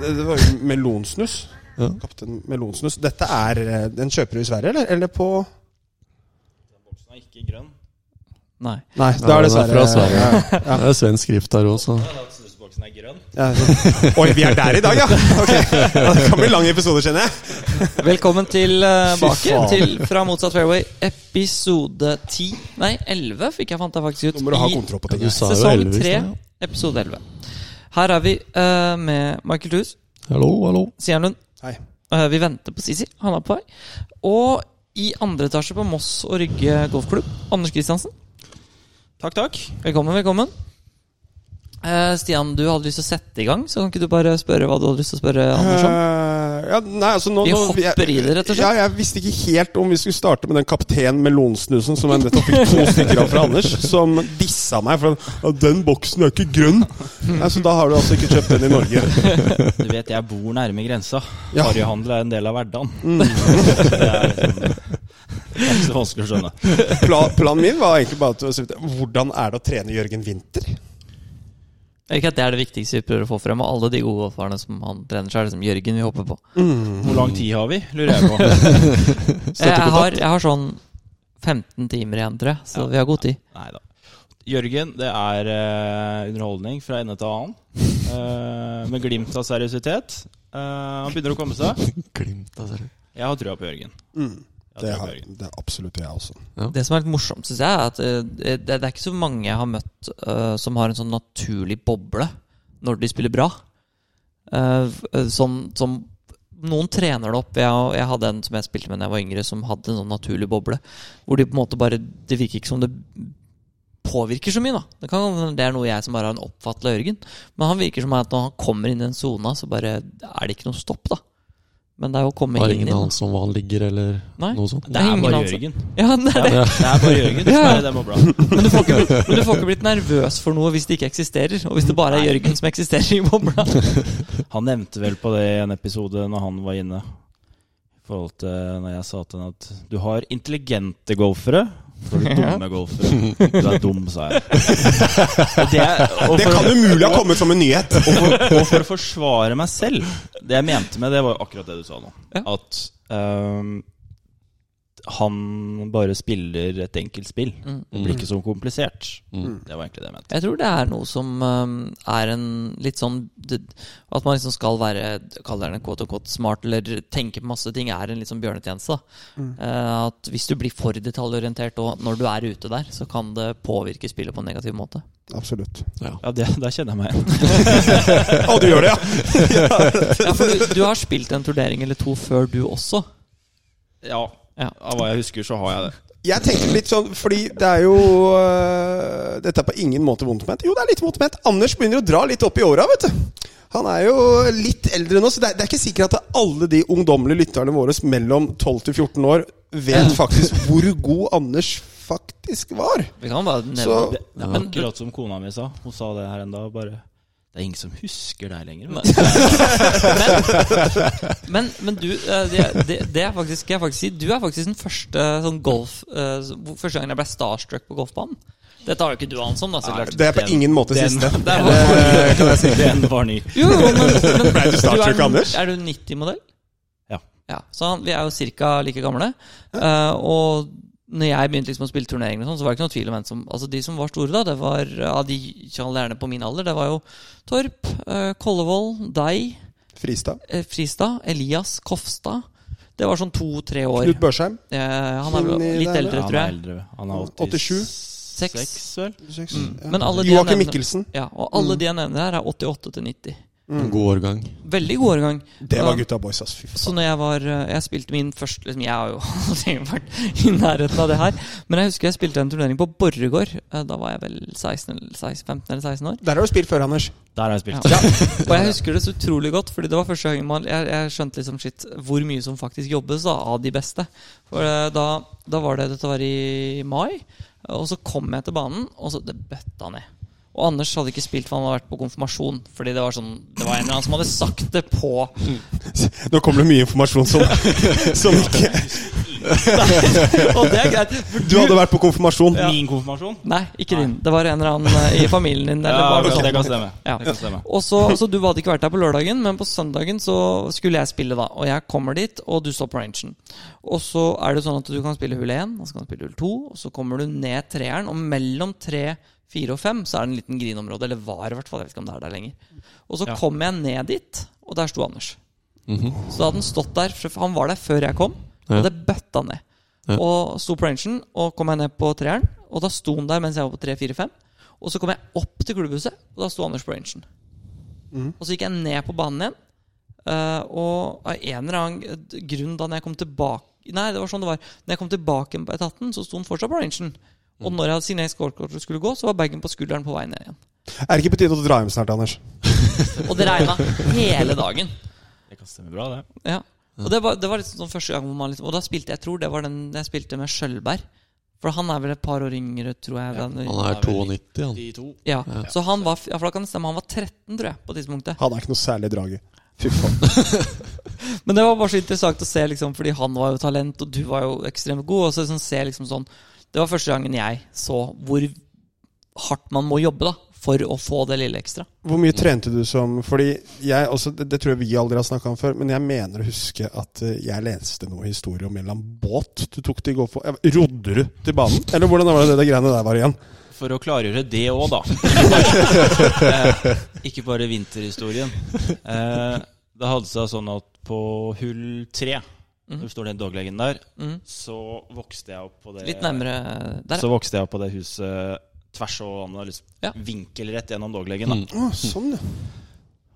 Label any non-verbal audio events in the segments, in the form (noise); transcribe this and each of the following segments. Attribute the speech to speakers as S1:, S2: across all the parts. S1: det det var jo melonsnus.
S2: Ja.
S1: Kaptein Melonsnus. Dette er eh, Den kjøper du i Sverige, eller? Eller på
S3: Boksen er ikke grønn.
S4: Nei.
S1: Nei, da er det
S2: den er
S1: Sverige.
S2: fra Sverige.
S1: Ja, ja.
S2: Det er svensk skrift her òg, så
S3: Ja, da, Snusboksen er grønn.
S1: Ja, så- Oi, vi er der i dag, ja! Ok, ja, Det kan bli lange episoder, kjenner jeg.
S4: Velkommen
S1: Fy
S4: tilbake
S1: faen.
S4: til Fra motsatt fairway, episode 10 Nei, 11 fikk jeg fant jeg faktisk ut.
S1: Nå må du ha
S4: i
S1: kontroll på ting.
S2: Du
S1: her.
S2: sa jo
S4: Sesong
S2: 11 i
S4: 3,
S2: stad.
S4: episode 11. Her er vi eh, med Michael Thues,
S2: Hallo, hallo.
S4: Sian Lund.
S1: Hei.
S4: Eh, vi venter på Sisi, han er på vei. Og i andre etasje på Moss og Rygge golfklubb, Anders Kristiansen.
S3: Takk, takk.
S4: Velkommen, velkommen. Eh, Stian, du hadde lyst til å sette i gang, så kan ikke du bare spørre hva du hadde lyst til å spørre Anders om?
S1: Eh, ja, nei, altså nå,
S4: Vi
S1: nå-
S4: hopper i det, rett og slett.
S1: Ja, jeg visste ikke helt om vi skulle starte med den kaptein melonsnusen som jeg nettopp fikk to stykker av fra Anders, som dissa meg for at «Ja, 'den boksen er ikke grønn'. Nei, så da har du altså ikke kjøpt den i Norge.
S3: Du vet, jeg bor nærme grensa.
S1: Ja. Mm.
S3: Harryhandel er en del av hverdagen. (laughs) det er liksom det er ikke så vanskelig å skjønne.
S1: (laughs) Pla, planen min var egentlig bare til å si hvordan er det å trene Jørgen Winther?
S4: Ikke at det er det viktigste vi prøver å få frem, og alle de gode golferne som han trener seg, er liksom Jørgen vi hopper på.
S3: Hvor lang tid har vi, lurer
S1: (laughs)
S3: jeg på.
S4: Jeg, jeg, har, jeg har sånn 15 timer igjen, tror jeg, så vi har god tid.
S3: Nei da. Jørgen, det er eh, underholdning fra ende til annen. eh, med glimt av seriøsitet. Eh, han begynner å komme seg.
S2: Glimt av seriøst.
S3: Jeg har trua på Jørgen. Jeg
S1: Mm. Det,
S3: har trua
S1: har,
S3: på Jørgen.
S1: det er absolutt jeg også.
S4: Det som er litt morsomt, syns jeg, er at eh, det, det er ikke så mange jeg har møtt eh, som har en sånn naturlig boble når de spiller bra. Eh, f- eh, som, som Noen trener det opp. Jeg, jeg hadde en som jeg spilte med da jeg var yngre, som hadde en sånn naturlig boble. Hvor de på en måte bare Det virker ikke som det påvirker så mye, da. Det, kan, det er noe jeg som bare har en oppfattet av Jørgen. Men han virker som at når han kommer inn i den sona, så bare er det ikke noe stopp, da. Men det er jo å komme
S2: Var
S4: inn i
S2: ingen
S4: den.
S2: annen som hva han ligger, eller
S4: Nei.
S2: noe sånt?
S3: Det er
S4: Ingen
S3: bare
S4: anelse.
S3: Jørgen.
S4: (laughs) Ja, det er det.
S3: Det er bare Jørgen som er i den bobla.
S4: Men du, får ikke blitt, men du får ikke blitt nervøs for noe hvis det ikke eksisterer. Og hvis det bare er Jørgen som eksisterer i bobla.
S3: Han nevnte vel på det i en episode når han var inne. I forhold til når jeg sa til han at du har intelligente golfere. Så har du dumme golfere. Du er dum, sa (laughs) jeg. Og det, og
S1: Det
S3: for,
S1: kan umulig ha kommet som en nyhet!
S3: og, for, og for å forsvare meg selv Det jeg mente med det, var jo akkurat det du sa nå.
S4: Ja.
S3: At ehm, han bare spiller et enkelt spill. Det blir ikke så komplisert.
S1: Mm.
S3: Det var egentlig det jeg mente.
S4: Jeg tror det er noe som øhm, er en litt sånn det, At man liksom skal være kaller det quote og quote smart eller tenke på masse ting, er en litt sånn bjørnetjeneste. da. Eh, at hvis du blir for detaljorientert og når du er ute der, så kan det påvirke spillet på en negativ måte.
S1: Absolutt.
S3: Ja, det, der kjenner jeg meg igjen.
S1: Å, du gjør det, ja!
S4: Ja, for du, du har spilt en turnering eller to før, du også.
S3: Ja,
S4: Ja.
S3: av hva jeg husker, så har jeg det.
S1: Jeg tenkte litt sånn, fordi det er jo øh, Dette er på ingen måte vondt ment. Jo, det er litt vondt ment. Anders begynner å dra litt opp i åra, vet du. Han er jo litt eldre nå, så det er, det er ikke sikkert at alle de ungdommelige lytterne våre mellom 12 til 14 år (laughs) vet faktisk hvor god Anders faktisk var.
S4: Vi kan bare nevne
S1: Så-
S3: Det, det er
S4: Men-
S3: akkurat som kona mi sa. Hun sa det her en dag. Bare Det er ingen som husker deg lenger.
S4: Nei.
S3: Men.
S4: Men, men du, eh, det, det, det er faktisk, skal jeg faktisk si Du er faktisk den første sånn golf eh, hvor- Første gangen jeg ble starstruck på golfbanen. Dette har jo ikke du anelse om, da, så klart.
S1: Det er på ingen måte
S3: (laughs) Den,
S1: siste.
S4: Det er-
S3: den, (laughs) den var ny.
S4: Jo, jo, men, men
S1: (laughs) Ble du starstruck,
S4: er,
S1: Anders?
S4: Er du 90-modell?
S3: Ja.
S4: ja. Så han, vi er jo ca. like gamle. Eh, og når jeg begynte liksom å spille turneringer, og sånn, så var det ikke noe tvil om hvem som Altså De som var store da, det var eh, av de kjallerne på min alder, det var jo Torp, eh, Kollevold, deg,
S1: Fristad.
S4: eh, Fristad, Elias, Kofstad. Det var sånn to-tre år.
S1: Knut Børsheim.
S4: Eh, han er vel
S1: Inni
S4: litt
S1: der,
S4: eldre,
S3: Ja,
S4: tror
S3: han er
S4: jeg.
S3: eldre. Han er
S1: 87.
S3: 86, vel?
S1: Ja.
S4: Men alle de
S1: Mm.
S4: jeg
S1: Joakim
S4: nevner-
S1: Mikkelsen.
S4: Ja, og alle de jeg nevner her, er 88 til 90.
S1: Mm.
S2: En god årgang.
S4: Veldig god årgang.
S1: Det var
S4: Ja.
S1: gutta boys, ass. Fy
S4: Så
S1: faen.
S4: når jeg var eh, Jeg spilte min første liksom, Jeg har jo (laughs) aldri vært i nærheten av det her. Men jeg husker jeg spilte en turnering på Borregaard. Eh, Da var jeg vel 16 eller 16, 15 eller 16 år.
S1: Der har du spilt før, (laughs) Anders.
S3: Der har jeg (laughs) spilt.
S4: Ja. (laughs) Og jeg husker det så utrolig godt, Fordi det var første gangen man, jeg, jeg skjønte liksom shit, hvor mye som faktisk jobbes da, av de beste. For eh, da, da var det Dette var i mai, og så kom jeg til banen, og så Det bøtta ned. Og Anders hadde ikke spilt, for han hadde vært på konfirmasjon. Fordi det var sånn Det var en eller annen som hadde sagt det på
S1: (laughs) Nå kommer det mye informasjon som, som ikke
S4: Og det er greit. For
S1: Du hadde vært på konfirmasjon.
S3: Min konfirmasjon?
S4: Nei, ikke din. Det var en eller annen eh, i familien din. Eller
S3: Ja,
S4: var det
S3: ok,
S4: sånn?
S3: det kan stemme.
S4: Ja.
S3: Det kan stemme.
S4: Og så, så du hadde ikke vært der på lørdagen, men på søndagen så skulle jeg spille, da. Og jeg kommer dit, og du står på rangen. Og så er det sånn at du kan spille hull 1, og så kan du spille hull 2, og så kommer du ned treeren, og mellom 3, 4 og 5 så er det en liten grinområde, eller var i hvert fall, jeg vet ikke om det er der lenger. Og så
S3: Ja.
S4: kom jeg ned dit, og der sto Anders. Så da hadde han stått der, for han var der før jeg kom, og
S2: Mhm. Ja.
S4: det bøtta ned.
S2: Ja.
S4: Og sto på rangen, og kom jeg ned på treeren, og da sto han der mens jeg var på 3, 4, 5. Og så kom jeg opp til klubbhuset, og da sto Anders på rangen. Og så gikk jeg ned på banen igjen. eh, og av en eller annen g- grunn da når jeg kom tilbake Nei, det var sånn det var. Når jeg kom tilbake på etaten, så sto han fortsatt på rangen. Og når jeg hadde signert scorekortet og skulle gå, så var bagen på skulderen på vei ned igjen.
S1: Er det ikke på tide å dra hjem snart, Anders?
S4: Og det regna hele dagen.
S3: Det kan stemme bra, det.
S4: Ja. Og det var, det var liksom sånn første gang hvor man liksom Og da spilte jeg, jeg tror det var den jeg spilte med Skjølberg. For han er vel et par år yngre, tror jeg. den-
S2: Han er 92, han.
S3: De to.
S4: ja. Så han var Ja, for da kan det stemme. Han var 13, tror jeg, på tidspunktet.
S1: Han er ikke noe særlig drag i. Fy faen.
S4: Men det var bare så interessant å se, liksom, fordi han var jo talent, og du var jo ekstremt god. Og så liksom, se liksom sånn Det var første gangen jeg så hvor hardt man må jobbe da for å få det lille ekstra.
S1: Hvor mye trente du som Fordi jeg også, det, det tror jeg vi aldri har snakka om før, men jeg mener å huske at eh, jeg leste noe historie om en eller annen båt du tok til å gå for. Eh, Rodde du til banen? Eller hvordan var det det greiene der var igjen?
S3: For å klargjøre det òg, da.
S4: (laughs)
S3: Eh, Ikke bare vinterhistorien. Eh, Det hadde seg sånn at på hull tre,
S4: Mm.
S3: når du står den dagleggen der,
S4: Mhm.
S3: så vokste jeg opp på det
S4: Litt nærmere der.
S3: Så vokste jeg opp på det huset tvers og annet, liksom,
S4: Ja. Mm.
S3: vinkelrett gjennom dagleggen. Da.
S1: Å, sånn, ja.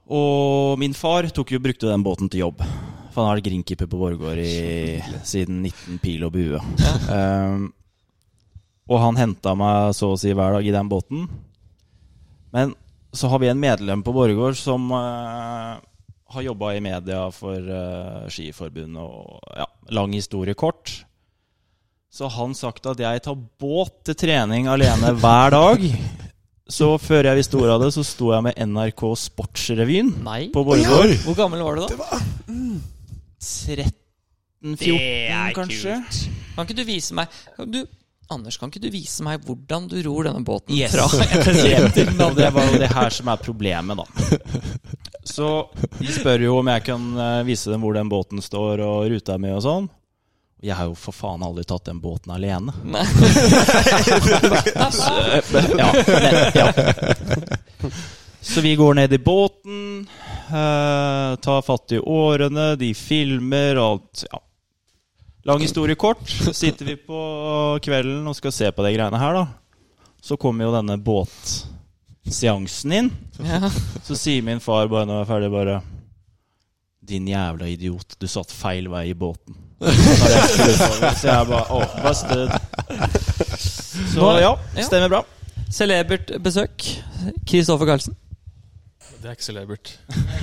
S3: Og min far tok jo, brukte den båten til jobb. For han har vært greenkeeper på Borregaard i- siden 19 pil og bue. Ehm, og han henta meg så å si hver dag i den båten. Men så har vi en medlem på Borregaard som eh, har jobba i media for eh, Skiforbundet og ja, lang historie kort. Så har han sagt at jeg tar båt til trening alene hver dag. Så før jeg visste ordet av det, så sto jeg med NRK Sportsrevyen
S4: Nei.
S3: på Borregaard.
S4: Hvor gammel var du da?
S3: 13-14, kanskje.
S4: Kan ikke du vise meg kan du, Anders, kan ikke du vise meg hvordan du ror denne båten
S3: Yes.
S4: fra
S3: (laughs) Og det var jo det her som er problemet, da. (laughs) Så de spør jo om jeg kan eh, vise dem hvor den båten står og ruta mi og sånn. Jeg har jo for faen aldri tatt den båten alene.
S4: Nei.
S3: Eh, (laughs) Ja, men- ja. Så vi går ned i båten, eh, tar fatt i årene, de filmer og alt. Ja. Lang historie kort. Sitter vi på kvelden og skal se på de greiene her, da. Så kommer jo denne båtseansen inn.
S4: Ja.
S3: Så sier min far bare når jeg er ferdig, bare Din jævla idiot, du satt feil vei i båten. Så jeg skrudde over, så jeg bare Å, hva stød. Så ja,
S4: Ja.
S3: stemmer bra.
S4: Celebert besøk. Kristoffer Karlsen.
S5: Det er ikke celebert.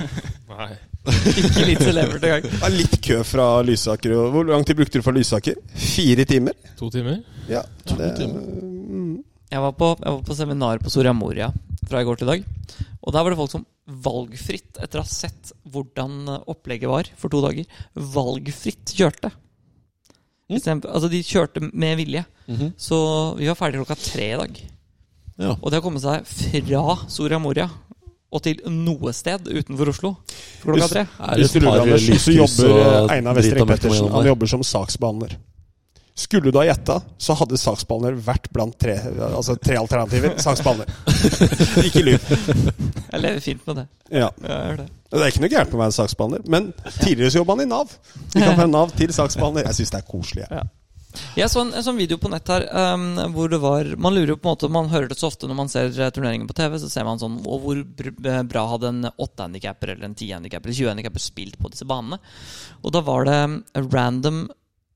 S5: (laughs) Nei.
S4: Ikke litt celebert engang.
S1: Det er litt kø fra Lysaker. og- Hvor lang tid brukte du fra Lysaker? Fire timer?
S5: To timer?
S1: Ja, det, Mm.
S4: Jeg var, på, jeg var på seminar på Soria Moria fra i går til i dag. Og der var det folk som valgfritt, etter å ha sett hvordan eh, opplegget var for to dager, valgfritt kjørte. I stedet for- Altså, de kjørte med vilje. Så vi var ferdig klokka tre i dag.
S2: Ja.
S4: Og det har kommet seg fra Soria Moria og til noe sted utenfor Oslo klokka
S1: Just-
S4: tre.
S2: Er
S1: Hvis
S2: det
S1: du lurer,
S2: et par
S1: Anders, så
S2: lyskryss
S1: jobber
S2: og
S1: eh, Einar
S2: drit av
S1: Westring
S2: mørket
S1: Pettersen.
S2: mellom
S1: Han
S2: der?
S1: jobber som saksbehandler. Skulle du ha gjetta, så hadde saksbehandler vært blant tre, altså tre alternativer.
S2: (laughs)
S1: Saksbehandler. Ikke lyv.
S4: Jeg lever fint med det.
S1: Ja.
S4: Jeg gjør det.
S1: Det er ikke noe gærent med å være saksbehandler, men tidligere så jobba han i Nav. Vi kan fra Nav til saksbehandler. Jeg syns det er koselig. jeg.
S4: Jeg så en, en sånn video på nett her ehm, hvor det var Man lurer jo på en måte Man hører det så ofte når man ser eh, turneringer på TV, så ser man sånn Og hvor br- eh, bra hadde en åttehandikapper eller en tihandikapper eller 20-handikapper spilt på disse banene? Og da var det mm, Random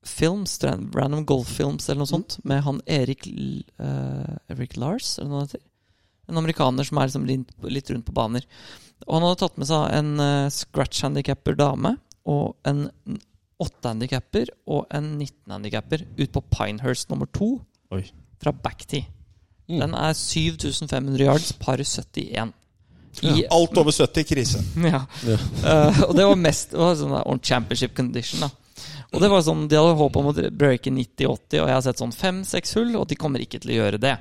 S4: Films, tror jeg, Random Golf Films eller noe sånt, med han Erik L- eh, Erik Lars, eller noe han heter. En amerikaner som er liksom litt, litt rundt på baner. Og han hadde tatt med seg en eh, scratch-handikapper dame og en åtte handikapper og en 19 handikapper ut på Pinehurst nummer to
S3: Oi.
S4: fra backtee. Den er 7500 yards par 71. I,
S1: Alt over 70 krise.
S4: ja. Eh, og det var mest det var sånn der, on championship condition. da Og det var sånn, De hadde håp om å breake 90-80, og jeg har sett sånn fem-seks hull, og de kommer ikke til å gjøre det.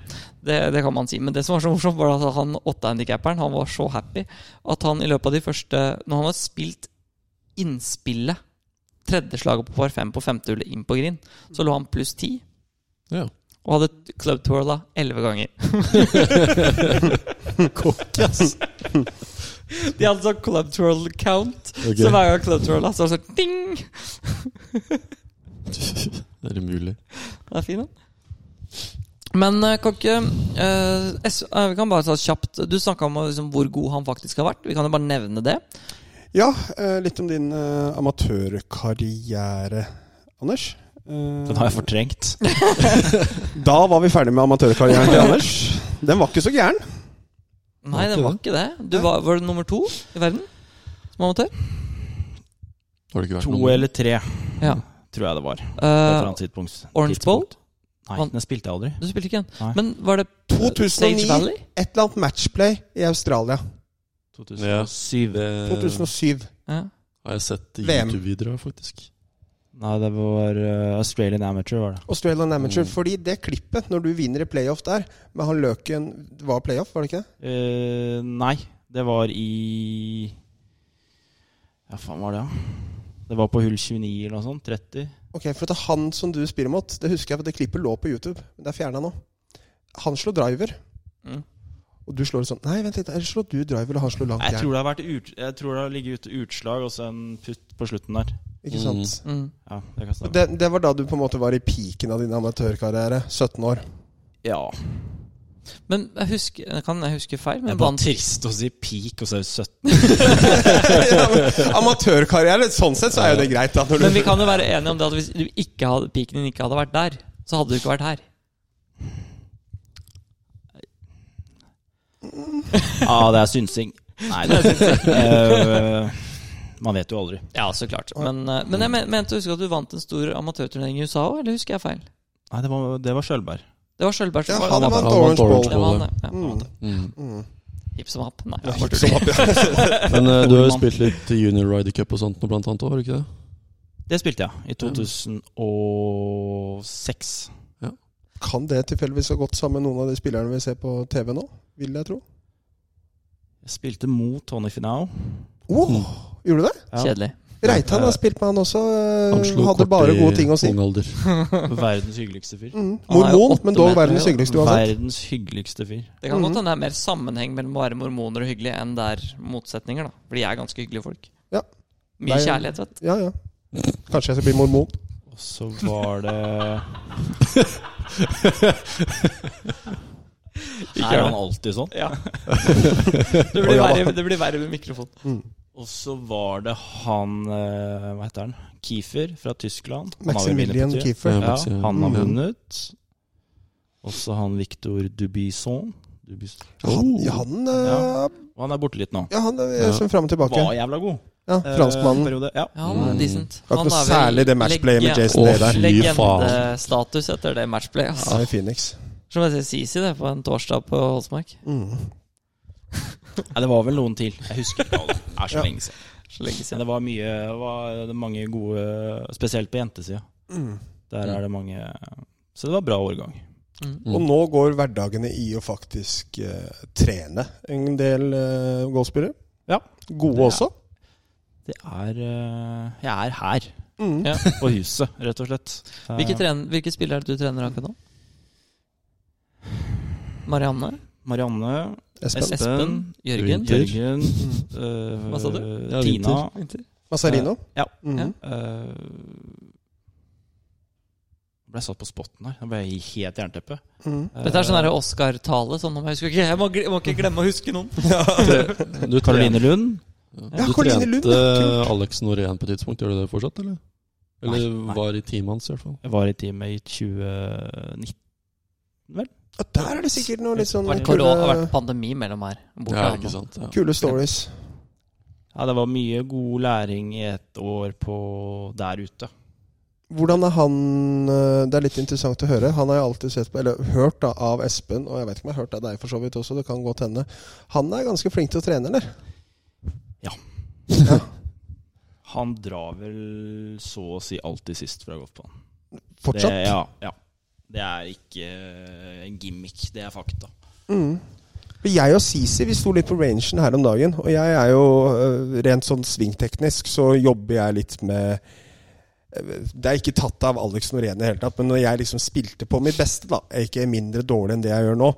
S4: det. Det kan man si. Men det som var så morsomt, var at han åttehandikapperen han var så happy at han i løpet av de første Når han hadde spilt innspillet, tredje slaget på par fem på femte hullet inn på green, så lå han pluss ti.
S2: Ja.
S4: Og hadde club twirla elleve ganger. De hadde sånn club twirl count.
S2: Ok.
S4: Så hver gang club twirla, så var det sånn ding!
S2: Det er umulig.
S4: Den er fin, den. Men eh, kan ikke eh, S- eh, Vi kan bare ta kjapt Du snakka om eh, liksom, hvor god han faktisk har vært. Vi kan jo bare nevne det.
S1: Ja, eh, litt om din eh, amatørkarriere, Anders. Eh,
S3: Den har jeg fortrengt.
S1: da var vi ferdig med amatørkarrieren
S2: (laughs)
S1: til Anders. Den var ikke så gæren.
S4: Nei, det var ikke det. Du var, var du nummer to i verden som amatør?
S2: Har det ikke vært
S3: To
S2: noen-
S3: eller tre,
S4: Ja.
S3: tror jeg det var. på et
S4: Eh,
S3: eller annet tidspunkt.
S4: Orange Bowl?
S3: Tidspunkt. Nei,
S4: Han-
S3: den spilte jeg aldri.
S4: du spilte ikke
S3: Nei.
S4: en. Men var det Sage
S1: 2009.
S4: Valley?
S1: Et eller annet matchplay i Australia.
S3: 2007.
S2: Det
S1: 2007.
S4: Ja.
S2: har jeg sett i
S1: VM.
S2: YouTube-videoer, faktisk.
S3: Nei, det var eh, Australian Amateur, var det.
S1: Australian Amateur.
S2: Mm.
S1: Fordi det klippet, når du vinner i playoff der med han Løken Det var playoff, var det ikke det?
S3: Eh, nei, det var i Ja, faen var det, ja? Det var på hull 29 eller noe sånt. 30.
S1: Ok, For at han som du spiller mot, det husker jeg, for det klippet lå på YouTube. Men det er fjerna nå. Han slår driver,
S4: Mm.
S1: og du slår sånn Nei, vent litt, eller slår du driver, og han slår langt
S3: Jeg
S1: jern?
S3: tror det har, vært ut, jeg tror det har ligget ute utslag og så en putt på slutten der.
S1: Ikke sant?
S4: Mm.
S3: Ja, det kan stemme.
S1: Det, det var da du på en måte var i piken av din amatørkarriere. 17 år. (laughs)
S3: ja.
S4: Men jeg husker, jeg kan jeg huske feil?
S3: Det
S4: Men
S3: er bare
S4: vant
S3: trist å si peak, og så er det 17.
S1: Ja, men amatørkarriere, sånn sett så er jo det greit. da når
S4: Men
S1: du,
S4: vi kan jo være enige om det at hvis du ikke hadde, piken din ikke hadde vært der, så hadde du ikke vært her.
S3: (laughs) Ja, det er synsing. Nei, det er (laughs) synsing. Eh, man vet jo aldri.
S4: Ja, så klart. Men, eh, men jeg men- mente å huske at du vant en stor amatørturnering i USA òg, eller husker jeg feil?
S3: Nei, det var, det var Skjølberg.
S4: Det var Sølvberg som
S1: ja,
S4: var
S1: han
S2: var-
S1: vant
S2: han vant
S1: Orange Bowl.
S2: Orange
S4: Det var han, ja.
S1: Mm.
S2: Mm.
S1: Mm.
S4: Hipp som happ. Nei,
S1: Ja,
S4: jeg
S1: ikke
S4: husker
S1: som opp, ja.
S2: Men
S1: (laughs)
S2: eh, du har jo
S4: Mann.
S2: spilt litt junior rider cup og sånt nå, blant annet òg, har du ikke det?
S1: Mm,
S3: Det spilte jeg i 2006.
S1: Kan det tilfeldigvis ha gått sammen med noen av de spillerne vi ser på TV nå? Vil jeg tro.
S3: Jeg spilte mot Tony Finau.
S1: Oh, Gjorde du det?
S4: ikke. Kjedelig.
S1: Reitan har spilt med han også. øh,
S2: Han slo
S1: Hadde
S2: kort
S1: bare
S2: i
S1: gode ting å si.
S2: ung alder.
S3: Verdens hyggeligste fyr.
S1: Mm.
S4: Han er jo
S1: Mormon,
S4: åtte
S1: men dog
S4: meter
S1: verdens
S4: høy, da.
S1: hyggeligste uansett.
S3: Verdens hyggeligste fyr.
S1: Mm.
S4: Det kan godt hende det er mer sammenheng mellom å være mormoner og hyggelig enn det er motsetninger, da. For de er ganske hyggelige folk.
S1: Ja.
S4: Mye
S1: Nei,
S4: kjærlighet, vet du.
S1: Ja, ja. Kanskje jeg skal bli mormon.
S3: Og så var det
S4: (laughs) Ikke gjør (laughs) det.
S3: alltid sånn?
S4: Ja. det,
S1: Å,
S4: blir
S1: ja da.
S4: verre, det blir verre med mikrofon.
S1: Mm.
S3: Og så var det han eh, Hva heter han? Kiefer fra Tyskland. Han har vi vært inne
S1: Maximilian
S3: på tidligere.
S1: Kiefer.
S2: Ja.
S3: Ja,
S2: Maximilian.
S3: han
S1: Mm.
S3: har vunnet. Også han Victor Dubison. Dubison.
S1: Han, ja, han, øh,
S3: Og han er borte litt nå.
S1: ja, han øh,
S2: Oh. Ja.
S1: som fram og tilbake.
S3: Var jævla god.
S1: Ja,
S3: eh,
S1: Franskmannen.
S3: periode. Ja.
S4: Ja, han er
S2: Mm.
S4: decent.
S1: Det var ikke noe særlig det matchplayet med Jason
S2: Å,
S1: Day der.
S2: fy faen.
S4: legendestatus etter det matchplayet. Altså.
S1: Ja, i Phoenix.
S4: Som jeg sier Sisi det på en torsdag på Holsmark.
S1: Mm.
S3: Nei, det var vel noen til. Jeg husker ikke alle. Det er så
S1: Ja.
S3: lenge siden.
S4: Så lenge
S3: Men
S4: siden.
S3: det var mye det var mange gode Spesielt på jentesida.
S1: Mm.
S3: Der er det mange Så det var bra årgang.
S4: Mm.
S2: Mm.
S1: Og nå går hverdagene i å faktisk eh, trene en del uh, golfspillere.
S3: Ja.
S1: Gode også.
S3: Det er eh, Jeg er her,
S1: Mm.
S4: Ja.
S3: på huset, (laughs) rett og slett. Eh,
S4: Hvilke, tren hvilke spillere er det du trener akkurat nå? Marianne?
S3: Marianne,
S1: Espen
S3: Espen,
S4: Espen? Jørgen?
S2: Jørgen.
S3: Jørgen eh,
S4: Hva sa du?
S2: Ja,
S3: Tina.
S2: Winter.
S4: Winter?
S1: Mazzarino.
S3: Ja.
S1: Mm.
S4: Ja.
S3: eh, ble jeg satt på spotten her. Da ble jeg i helt jernteppe.
S1: Mm.
S4: Dette er sånn der Oscar-tale. Sånn, om jeg, husker ikke, jeg, må, gl- jeg må ikke glemme å huske
S1: (laughs)
S4: noen.
S3: (laughs)
S2: Du
S3: Karoline Eh, Lund.
S1: Ja,
S2: du
S1: Caroline Lund,
S2: trente
S1: ja, kult.
S2: Alex Norén på et tidspunkt. Gjør du det fortsatt, eller? Eller
S3: Nei, nei.
S2: var i teamet hans, i hvert fall.
S3: Jeg var i teamet i 2019.
S1: Ja, der er det sikkert noe litt sånn
S4: Det har vært
S1: kule,
S4: korona- det har vært pandemi mellom her. Borte
S2: Ja,
S4: her nå.
S2: ikke sant. Ja.
S1: kule stories.
S3: Ja, det var mye god læring i et år på der ute.
S1: Hvordan er han eh, Det er litt interessant å høre. Han har jeg alltid sett på, eller hørt da, av Espen, og jeg vet ikke om jeg har hørt av deg for så vidt også, det kan godt hende. Han er ganske flink til å trene, eller?
S3: Han drar vel så å si alltid sist fra golfbanen.
S1: Fortsatt?
S3: Det, ja, ja. det er ikke eh, en gimmick, det er fakta.
S1: Mm. Men Jeg og Sisi vi sto litt på rangen her om dagen. Og jeg er jo øh, rent sånn svingteknisk, så jobber jeg litt med øh, det er ikke tatt av Alex Norén i det hele tatt, men når jeg liksom spilte på mitt beste, da, ikke mindre dårlig enn det jeg gjør nå,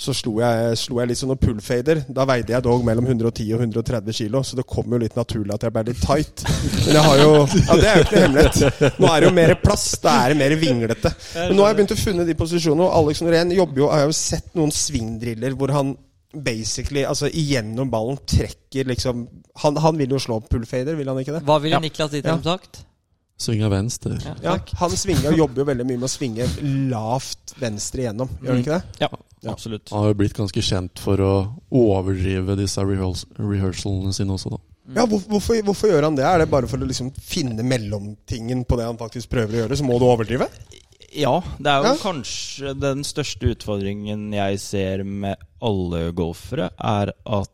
S1: så slo jeg, slo jeg litt sånn noen pullfader. Da veide jeg dog mellom 110 og 130 kilo, så det kom jo litt naturlig at jeg ble litt tight. Men jeg har jo Ja, det er jo ikke noe hemmelighet. Nå er det jo mer plass, da er det mer vinglete. Men nå har jeg begynt å funne de posisjonene, og Alex Norén jobber jo Jeg har jo sett noen svingdriller hvor han basically, altså igjennom ballen, trekker liksom Han, han vil jo slå pullfader, vil han ikke det?
S4: Hva ville
S1: Ja.
S4: Niklas Item sagt?
S2: Svinga venstre.
S4: Ja,
S1: Ja,
S4: takk.
S1: han svinger og jobber jo veldig mye med å svinge lavt venstre igjennom.
S3: Mm.
S1: Gjør han ikke det?
S3: Ja,
S1: Ja.
S3: absolutt.
S2: Han har jo blitt ganske kjent for å overdrive disse rehears rehearsalene sine også, da.
S3: Mm.
S1: Ja, hvor- hvorfor, hvorfor gjør han det? Er det bare for å liksom finne mellomtingen på det han faktisk prøver å gjøre? Så må du overdrive?
S3: Ja, det er jo
S1: Ja.
S3: kanskje den største utfordringen jeg ser med alle golfere, er at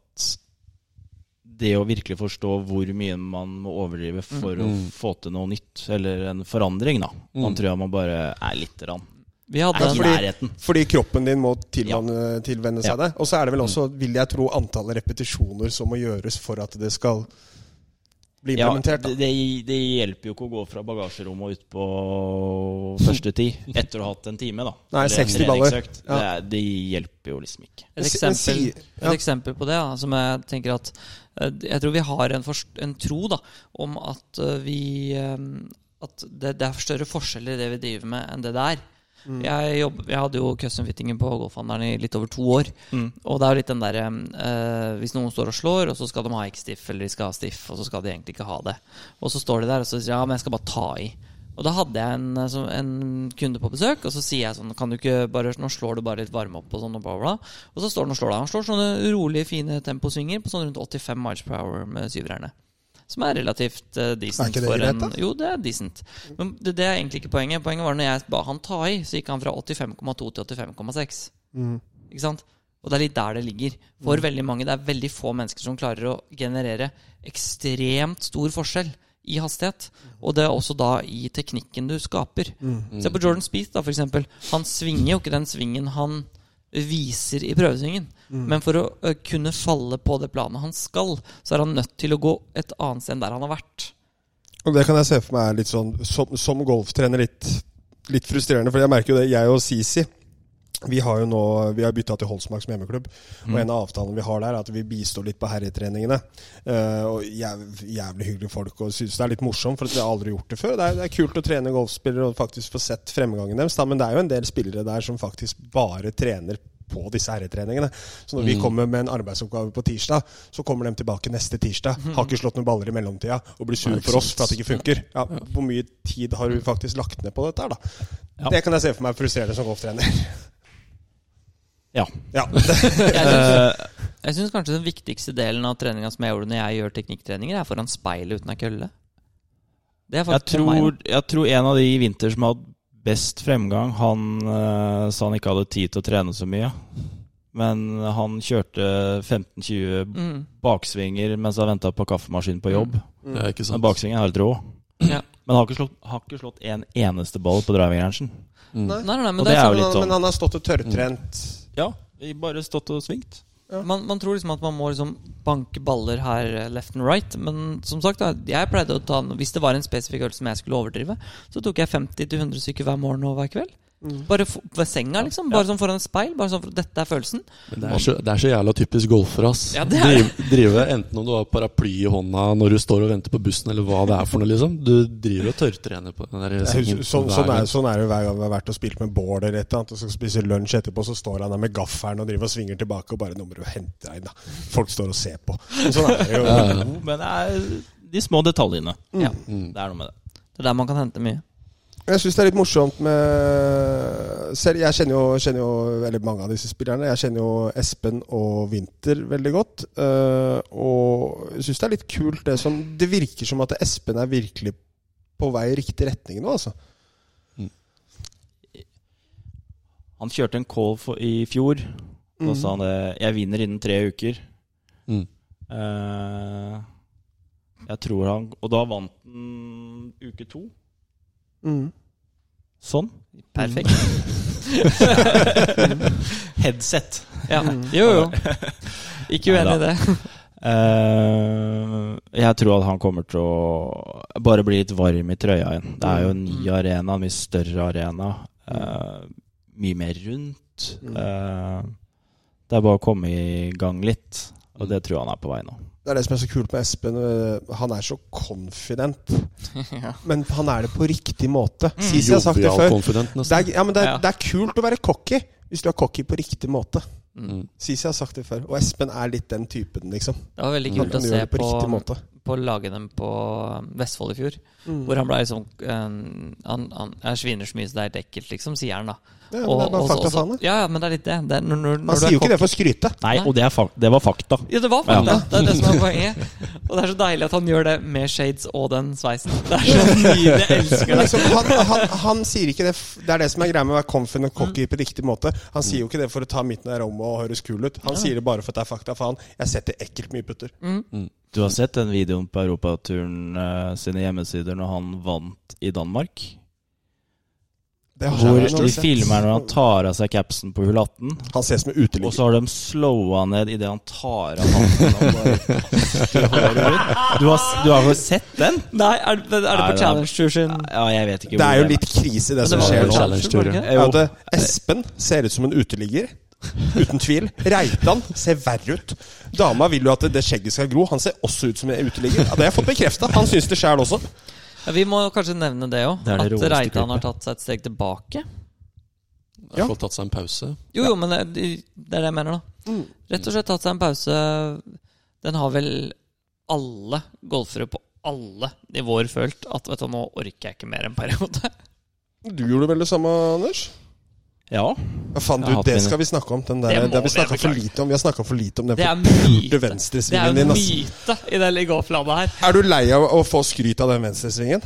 S3: det å virkelig forstå hvor mye man må overdrive for
S2: Mm.
S3: å få til noe nytt, eller en forandring, da. Man
S2: Mm.
S3: tror jeg man bare er lite grann.
S4: Vi
S3: Er
S4: hadde
S3: i
S4: en
S1: fordi-
S3: nærheten.
S1: Fordi kroppen din må tilvenne, tilvenne seg
S3: Ja. Mm.
S1: det. Og så er det vel også, vil jeg tro, antallet repetisjoner som må gjøres for at det skal bli
S3: Ja,
S1: implementert.
S3: det,
S1: Da.
S3: det, det hjelper jo ikke å gå fra bagasjerommet og ut (laughs) på første ti etter å ha hatt en time, da.
S1: Nei,
S3: Eller en
S1: 60 baller.
S3: treningsøkt.
S1: Ja.
S3: Det, er- det hjelper jo liksom ikke.
S4: Et
S1: Men si-
S4: eksempel,
S1: men si- ja.
S4: et eksempel på det, da, som jeg tenker at eh, Jeg tror vi har en, forst, en tro da, om at eh, vi eh, At det, det er større forskjeller i det vi driver med, enn det det er.
S1: Mm.
S4: Jeg, jobb, jeg hadde jo custom-fittingen på golfhandleren i litt over to år.
S1: Mm.
S4: Og det er jo litt den derre eh, Hvis noen står og slår, og så skal de ha ikke stiff, eller de skal ha stiff, og så skal de egentlig ikke ha det. Og så står de der og så sier de, ja, men jeg skal bare ta i. Og da hadde jeg en, eh, som- en kunde på besøk, og så sier jeg sånn Kan du ikke bare Nå slår du bare litt varme opp og sånn, og bla, bla. bla." Og så står han og slår deg. Han slår sånne rolige, fine temposvinger på sånn rundt 85 miles per hour med syverne. Som er relativt eh, decent.
S1: Er ikke det
S4: for
S1: greit,
S4: en, jo, det er decent. Men det, det er egentlig ikke poenget. Poenget var når jeg ba han ta i, så gikk han fra 85,2 til 85,6.
S1: Mm.
S4: Ikke sant? Og det er litt der det ligger. For
S3: Mm.
S4: veldig mange, det er veldig få mennesker som klarer å generere ekstremt stor forskjell i hastighet.
S3: Mm.
S4: Og det er også da i teknikken du skaper. Se på Jordan Speeth, da, for eksempel. Han svinger jo ikke den svingen han viser i prøvesvingen.
S3: Mm.
S4: Men for å ø, kunne falle på det planet han skal, så er han nødt til å gå et annet sted enn der han har vært.
S1: Og det kan jeg se for meg er litt sånn Som, som golftrener litt, litt frustrerende, for jeg merker jo det. Jeg og Sisi vi har jo nå, vi har bytta til Holsmark som hjemmeklubb. Og en av avtalene vi har der, er at vi bistår litt på herretreningene. Eh, og jæv, jævlig hyggelige folk, og synes det er litt morsomt, for at vi har aldri gjort det før. Det er, det er kult å trene golfspillere og faktisk få sett fremgangen deres, da, men det er jo en del spillere der som faktisk bare trener på disse herretreningene. Så når vi kommer med en arbeidsoppgave på tirsdag, så kommer de tilbake neste tirsdag, har ikke slått noen baller i mellomtida, og blir sur
S2: Nei, ikke
S1: for oss
S2: sant.
S1: for at det ikke funker. Ja, hvor mye tid har du faktisk lagt ned på dette her, da?
S3: Ja.
S1: Det kan jeg se for meg frustrerende som golftrener.
S3: Ja.
S1: Ja,
S4: Jeg synes,
S3: (laughs) Eh,
S4: jeg synes kanskje den viktigste delen av treninga som jeg gjorde når jeg gjør teknikktreninger, er foran speilet uten ei kølle. Det er
S3: Jeg
S4: faktisk meg, da.
S3: tror, jeg tror en av de i vinter som hadde best fremgang, han eh, sa han ikke hadde tid til å trene så mye. Men han kjørte 15-20
S4: Mm.
S3: baksvinger mens han venta på kaffemaskinen på jobb.
S1: Mm.
S2: Det er ikke
S3: Men
S2: sant.
S3: baksvingen er helt rå.
S4: Ja.
S3: Men har ikke slått, har ikke slått en eneste ball på driving-rangen.
S2: Mm.
S4: Nei, nei, nei, men
S3: Og
S4: det er
S3: det er
S4: sånn
S3: jo litt
S1: men,
S3: sånn. Mm.
S1: men han har stått og tørrtrent.
S3: Ja, vi bare stått og svingt.
S4: Man, man tror liksom at man må liksom banke baller her eh, left and right, men som sagt, da, jeg pleide å ta Hvis det var en spesifikk øl som jeg skulle overdrive, så tok jeg 50-100 stykker hver morgen og hver kveld.
S1: Mm.
S4: Bare for, ved senga, liksom. Bare sånn foran et speil. Bare sånn for, Dette er følelsen.
S2: Men det er, så, det er så jævla typisk golfer, ass.
S4: Ja, det er det.
S2: Drive, drive enten om du har paraply i hånda når du står og venter på bussen, eller hva det er for noe, liksom. Du driver og tørrtrener på den der
S1: Sånn,
S2: sengen
S1: sånn,
S2: hver
S1: er,
S2: gang.
S1: sånn er det jo hver gang vi har vært og spilt med Bård eller et eller annet, og skal spise lunsj etterpå, så står han der med gaffelen og driver og svinger tilbake og bare 'Nå må du hente deg inn', da. Folk står og ser på. Sånn er det jo.
S3: Men det er de små detaljene.
S4: Ja.
S3: Det
S2: Mm.
S3: er noe med det.
S4: Det er der man kan hente mye.
S1: Jeg syns det er litt morsomt med selv, Jeg kjenner jo, kjenner jo veldig mange av disse spillerne. Jeg kjenner jo Espen og Winther veldig godt. eh, og jeg syns det er litt kult det som Det virker som at Espen er virkelig på vei i riktig retning nå, altså.
S3: Han kjørte en call for, i fjor.
S1: Mm.
S3: Da sa han det 'Jeg vinner innen tre uker'.
S2: Mm.
S3: Eh, Jeg tror han Og da vant han uke to.
S1: Mm.
S3: Sånn.
S4: Perfekt.
S3: (laughs) Headset.
S4: Ja.
S3: Mm.
S4: Jo,
S3: (laughs)
S4: jo. Ikke uenig i det.
S3: Eh, jeg tror at han kommer til å bare bli litt varm i trøya igjen. Det er jo en ny
S4: Mm.
S3: arena, en mye større arena. eh, mye mer rundt.
S1: Mm.
S3: Eh, det er bare å komme i gang litt, og det tror jeg han er på vei nå.
S1: Det er det som er så kult med Espen. øh, Han er så confident.
S4: (laughs) Ja.
S1: Men han er det på riktig måte.
S4: Mm.
S1: Sist jeg har sagt det
S2: Jovial
S1: før.
S2: confident,
S1: Det
S2: nesten.
S1: er, ja, men det, er,
S4: Ja.
S1: det er kult å være cocky hvis du er cocky på riktig måte.
S4: Mm.
S1: Sist jeg har sagt det før. Og Espen er litt den typen, liksom.
S4: Det var veldig
S2: Mm.
S4: kult å
S1: Han gjør
S4: se
S1: det på
S4: på,
S1: riktig måte.
S4: på lagene på um, Vestfold i fjor.
S1: Mm.
S4: Hvor han ble liksom eh, han, han, Jeg sviner så mye så det er helt ekkelt, liksom, sier han da.
S1: Ja, men det er
S4: Og-
S1: bare
S4: og-
S1: fakta
S4: og-
S1: faen. det.
S4: Ja, ja, men det er litt det. det er, når, når, når
S1: Han
S4: du er
S1: sier jo
S4: cocky-
S1: ikke det for å
S4: (laughs)
S1: skryte.
S3: Nei,
S4: Nei.
S3: og det, er fak det var fakta.
S4: Ja, det var
S3: Ja.
S4: fakta. Det er det som er poenget. Og det er så deilig at han gjør det med shades og den sveisen. Det er så nydelig. Jeg elsker
S1: Men
S4: det.
S1: liksom, han, han, han sier ikke det f- Det er det som er greia med å være confident og cocky
S4: Mm.
S1: på riktig måte. Han sier jo ikke det for å ta midten av rommet og høres kul ut. Han sier det bare for at det er fakta faen. Jeg setter ekkelt mye putter.
S3: Du har sett den videoen på Europaturen eh, sine hjemmesider når han vant i Danmark?
S1: Det har
S3: Hvor
S1: jeg nok
S3: de
S1: sett.
S3: filmer når han tar av seg capsen på hull 18.
S1: Han ses med
S3: Og
S1: uteligger.
S3: så har de slowa ned idet han tar av hatten. og bare kaster håret ut. Du har, du har jo sett den?
S4: Nei, er, det- er det
S3: Nei,
S4: på
S3: det er-
S4: Challenge Tour sin
S3: Ja, jeg vet ikke.
S1: Det er
S3: hvor
S1: jo litt krise, det som
S2: var
S1: skjer
S2: vel
S1: nå.
S2: Challenge. Tour, ja.
S1: Er
S3: Jo.
S1: at eh, Espen ser ut som en uteligger. Uten tvil. Reitan ser verre ut. Dama vil jo at det skjegget skal gro. Han ser også ut som en uteligger. Ja, det har jeg fått bekrefta. Han syns det sjæl også.
S4: Ja, Vi må kanskje nevne det òg.
S3: Det er
S4: At
S3: det råeste
S4: Reitan har
S3: klippet.
S4: tatt seg et steg tilbake.
S2: Har fått tatt seg en pause. (laughs)
S4: Jo, jo, men det, det er det jeg mener, da.
S1: Mm.
S4: Rett og slett tatt seg en pause. Den har vel alle golfere på alle nivåer følt at vet du, nå orker jeg ikke mer en periode.
S1: Du gjorde vel det samme, Anders?
S3: Ja.
S1: Ja, faen, du,
S3: Jeg har hatt
S1: det
S3: mine-
S1: skal vi snakke om. Den der,
S4: Det
S1: det
S4: må
S1: har vi
S4: vi,
S1: snakka for
S4: beklager.
S1: lite om. Vi har snakka for lite om den
S4: Det er
S1: forpulte
S4: myte. Det er
S1: venstresvingen
S4: en
S1: din. Ass.
S4: myte i det lille golflandet her.
S1: Er du lei av å få skryt av den venstresvingen?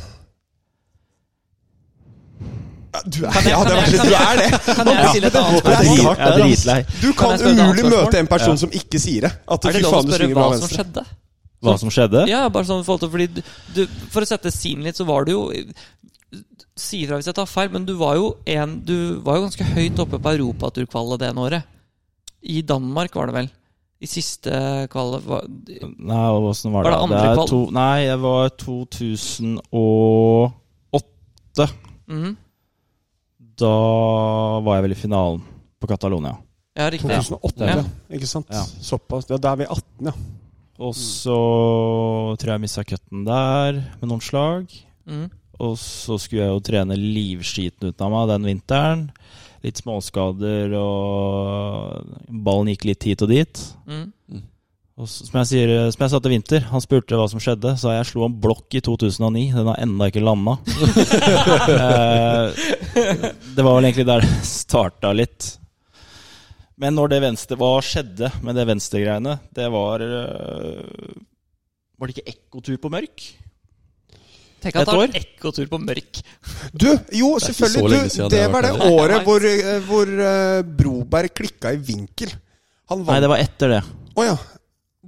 S1: Ja, Du er, ja, det var, du
S4: jeg-
S1: er det!
S4: Kan jeg stille et annet
S1: Det er
S4: spørsmål?
S1: hardt,
S3: Jeg er
S1: det, ass.
S3: dritlei.
S1: Du
S4: Kan
S1: kan
S4: jeg spørre et
S1: umulig
S4: annet spørsmål?
S1: møte en person som ikke sier det. At
S4: Er
S1: fy
S4: det lov å
S1: faen, du
S4: spørre
S1: svinger bra
S4: hva som
S1: venstre.
S4: skjedde?
S3: Hva som skjedde?
S4: Ja, bare sånn i forhold til Fordi du, du, For å sette scenen litt, så var du jo Si ifra hvis jeg tar feil, men du var jo en Du var jo ganske høyt oppe på europaturkvalet det ene året. I Danmark, var det vel? I siste kvalet var,
S3: Nei, åssen var
S4: Var
S3: det?
S4: det andre
S3: er
S4: kval?
S3: to, nei, det var 2008.
S4: Mhm.
S3: Da var jeg vel i finalen på Catalonia.
S4: Ja, riktig. Ja.
S1: 2008,
S4: Ja.
S1: ja. Ikke sant?
S3: Ja.
S1: Såpass. Ja, da er vi 18, ja.
S3: Og så tror jeg jeg mista cutten der med noen slag.
S4: Mhm.
S3: Og så skulle jeg jo trene livskiten ut av meg den vinteren. Litt småskader, og ballen gikk litt hit og dit.
S4: Mhm.
S3: Og så, som, jeg sier, som jeg sa til Winter, han spurte hva som skjedde, sa jeg slo en blokk i 2009. Den har ennå ikke landa. (laughs) eh, det var vel egentlig der det starta litt. Men når det venstre, hva skjedde med det venstregreiene? Det var eh, Var det ikke ekkotur på mørk?
S4: Tenk at
S3: Et
S4: det
S3: år?
S4: var ekkotur på mørk.
S1: Du, jo,
S2: så
S1: selvfølgelig.
S2: lenge
S1: Du,
S2: siden
S1: det
S2: det har
S1: var det
S2: vært
S1: året
S4: Nei,
S1: hvor, eh, hvor eh, Broberg klikka i vinkel. Han
S3: Nei,
S1: vant
S3: det var etter det.
S1: Å ja.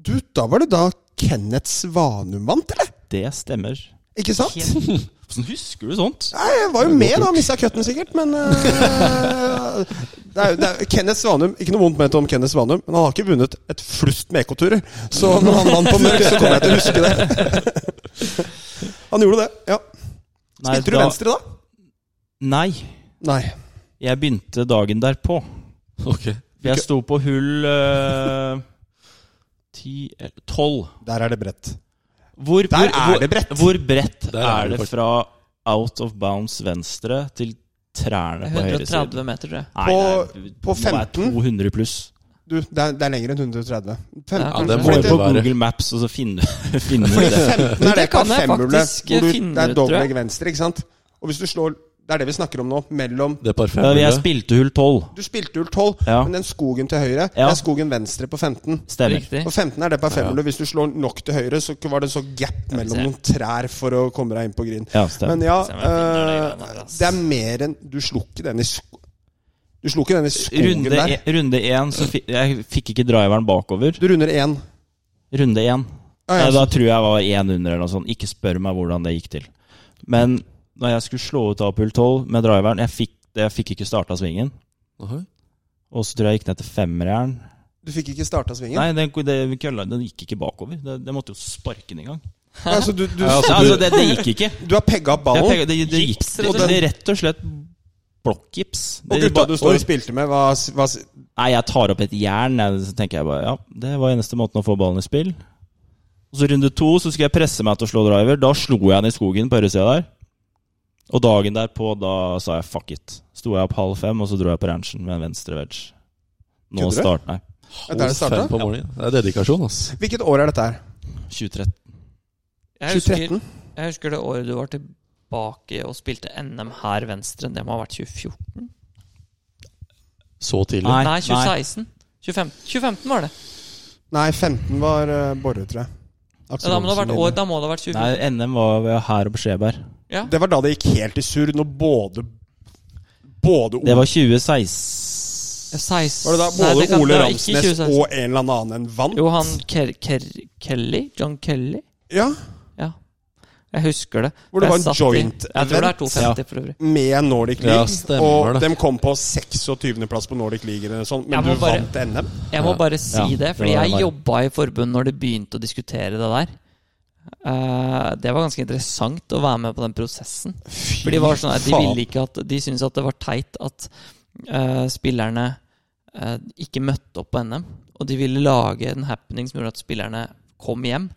S1: Du, da var det da Kenneth Svanum vant, eller?
S3: Det stemmer.
S1: Ikke sant?
S4: Helt-
S3: Hvordan husker du sånt?
S1: Nei, jeg var jo med da, mista cutten sikkert, men eh, det er, jo- det er, Kenneth Svanum Ikke noe vondt ment om Kenneth Svanum, men han har ikke vunnet et flust med ekoturer. Så når han vant på mørk, så kommer jeg til å huske det. (laughs) Han gjorde det, ja. Spilte du venstre da?
S3: Nei.
S1: Nei.
S3: Jeg begynte dagen derpå.
S2: Ok.
S3: Jeg sto på hull eh, (laughs) 10 eller 12.
S1: Der er det bredt.
S3: Hvor,
S1: Der
S3: hvor,
S1: er
S3: hvor-
S1: det bredt.
S3: Hvor bredt
S2: Der
S3: er,
S2: er det
S3: det
S2: faktisk.
S3: fra out of bounds venstre til trærne på høyre side?
S4: 130 meter, tror jeg.
S3: Nei,
S1: På-
S3: det er-
S1: på
S3: det må være
S1: 15?
S3: 200 pluss.
S1: Du, det er, det er lenger enn 130.
S4: Ja, kanskje.
S2: Ja, det
S3: Gå
S2: må
S3: inn
S2: det
S3: på
S2: være.
S3: Google Maps og så finne, (laughs) finne ut det.
S1: Femten er det
S4: Det kan jeg
S1: parfemhjulet,
S4: faktisk
S1: hvor du-
S4: finne
S1: Det er
S4: ut, tror jeg.
S1: dobbeltlegg venstre, ikke sant? Og hvis du slår Det er det vi snakker om nå. Mellom
S2: Det
S3: Ja, Jeg
S2: parfemmehullet.
S3: spilte hull 12.
S1: Du spilte hull 12,
S3: Ja.
S1: men den skogen til høyre Det
S3: Ja.
S1: er skogen venstre på 15.
S3: Stemmer.
S4: Riktig.
S1: På 15 er det parfemmehjulet. Hvis du slår nok til høyre, så var det så gap mellom
S4: ser.
S1: noen trær for å komme deg inn på green.
S3: Ja, stemmer.
S1: Men ja,
S4: Se om jeg finner
S1: eh,
S4: det greiene der, ass.
S1: det er mer enn Du slo ikke den i sko... Du slo ikke den i skogen
S3: Runde,
S1: der.
S3: e- runde én, så fi, jeg fikk ikke driveren bakover.
S1: Du runder én.
S3: Runde én,
S1: Ja,
S3: Eh,
S1: ja,
S3: Da tror jeg jeg var én under eller noe sånt. Ikke spør meg hvordan det gikk til. Men da jeg skulle slå ut av pull 12 med driveren Jeg fikk, jeg fikk ikke starta svingen.
S2: Aha.
S3: Og så tror jeg jeg gikk ned til femmerjern.
S1: Du fikk ikke starta svingen?
S3: Nei, den, den kølla den gikk ikke bakover. Det, det måtte jo sparke den i gang.
S1: Altså, du, du,
S3: (laughs) Ja, altså, det, det gikk ikke.
S1: du har pegga opp
S3: Jeg
S1: ballen,
S3: tenker, det, det gikk
S1: og
S3: det, det, rett og slett blokkgips.
S1: og
S3: Det-
S1: gutta du står
S3: Oi.
S1: og spilte med, hva, s- hva s-
S3: Nei, jeg tar opp et jern, jeg, så tenker jeg bare ja, det var eneste måten å få ballen i spill. Og så runde to, så skulle jeg presse meg til å slå driver. Da slo jeg den i skogen på høyresida der. Og dagen derpå, da sa jeg fuck it. Sto jeg opp halv fem, og så dro jeg på ranchen med en venstre wedge. Nå
S1: Kødder du?
S3: start, nei.
S1: Er det der det starta?
S2: Fem på morgenen. Det er dedikasjon, ass.
S1: Hvilket år er dette her?
S3: 2013.
S4: Jeg husker,
S1: 2013?
S4: jeg husker det året du var tilbake og spilte NM her venstre. Det må ha vært 2014?
S2: Så tidlig.
S3: Nei,
S4: Nei, 2016. 2015, 2015 var det.
S1: Nei, 15 var uh, Borre, tror jeg. Aksel
S4: Ja, da, må det ha
S1: Olsen
S4: vært
S1: vinner.
S4: år, da må det ha vært 2014.
S3: Nei, NM var ved her og på Skjeberg.
S4: Ja.
S1: Det var da det gikk helt i surr, når både Både
S3: Det
S1: Ole,
S3: var 2016.
S1: var det da både Ole Ramsnes og en eller annen en vant?
S4: Johan Ker Ker Kelly? John Kelly?
S1: Ja,
S4: Ja. Jeg husker det.
S1: Hvor det
S4: Jeg
S1: var en
S4: satt i-
S1: joint
S4: Jeg tror det er
S1: event.
S4: 250 for øvrig.
S1: Med Nordic
S2: Ja,
S1: League.
S2: stemmer
S1: og
S2: det.
S1: de kom på 26.-plass på Nordic League, eller noe sånt, men
S4: Jeg må
S1: du
S4: bare-
S1: vant NM?
S4: Jeg må
S2: Ja.
S4: bare si
S3: Ja,
S4: det,
S3: det
S4: fordi
S3: var det
S4: jeg
S3: bare.
S4: jobba i forbund når det begynte å diskutere det der. Eh, det var ganske interessant å være med på den prosessen. For de var sånn at de ville ikke at De syntes at det var teit at eh, spillerne eh, ikke møtte opp på NM. Og de ville lage en happening som gjorde at spillerne kom hjem.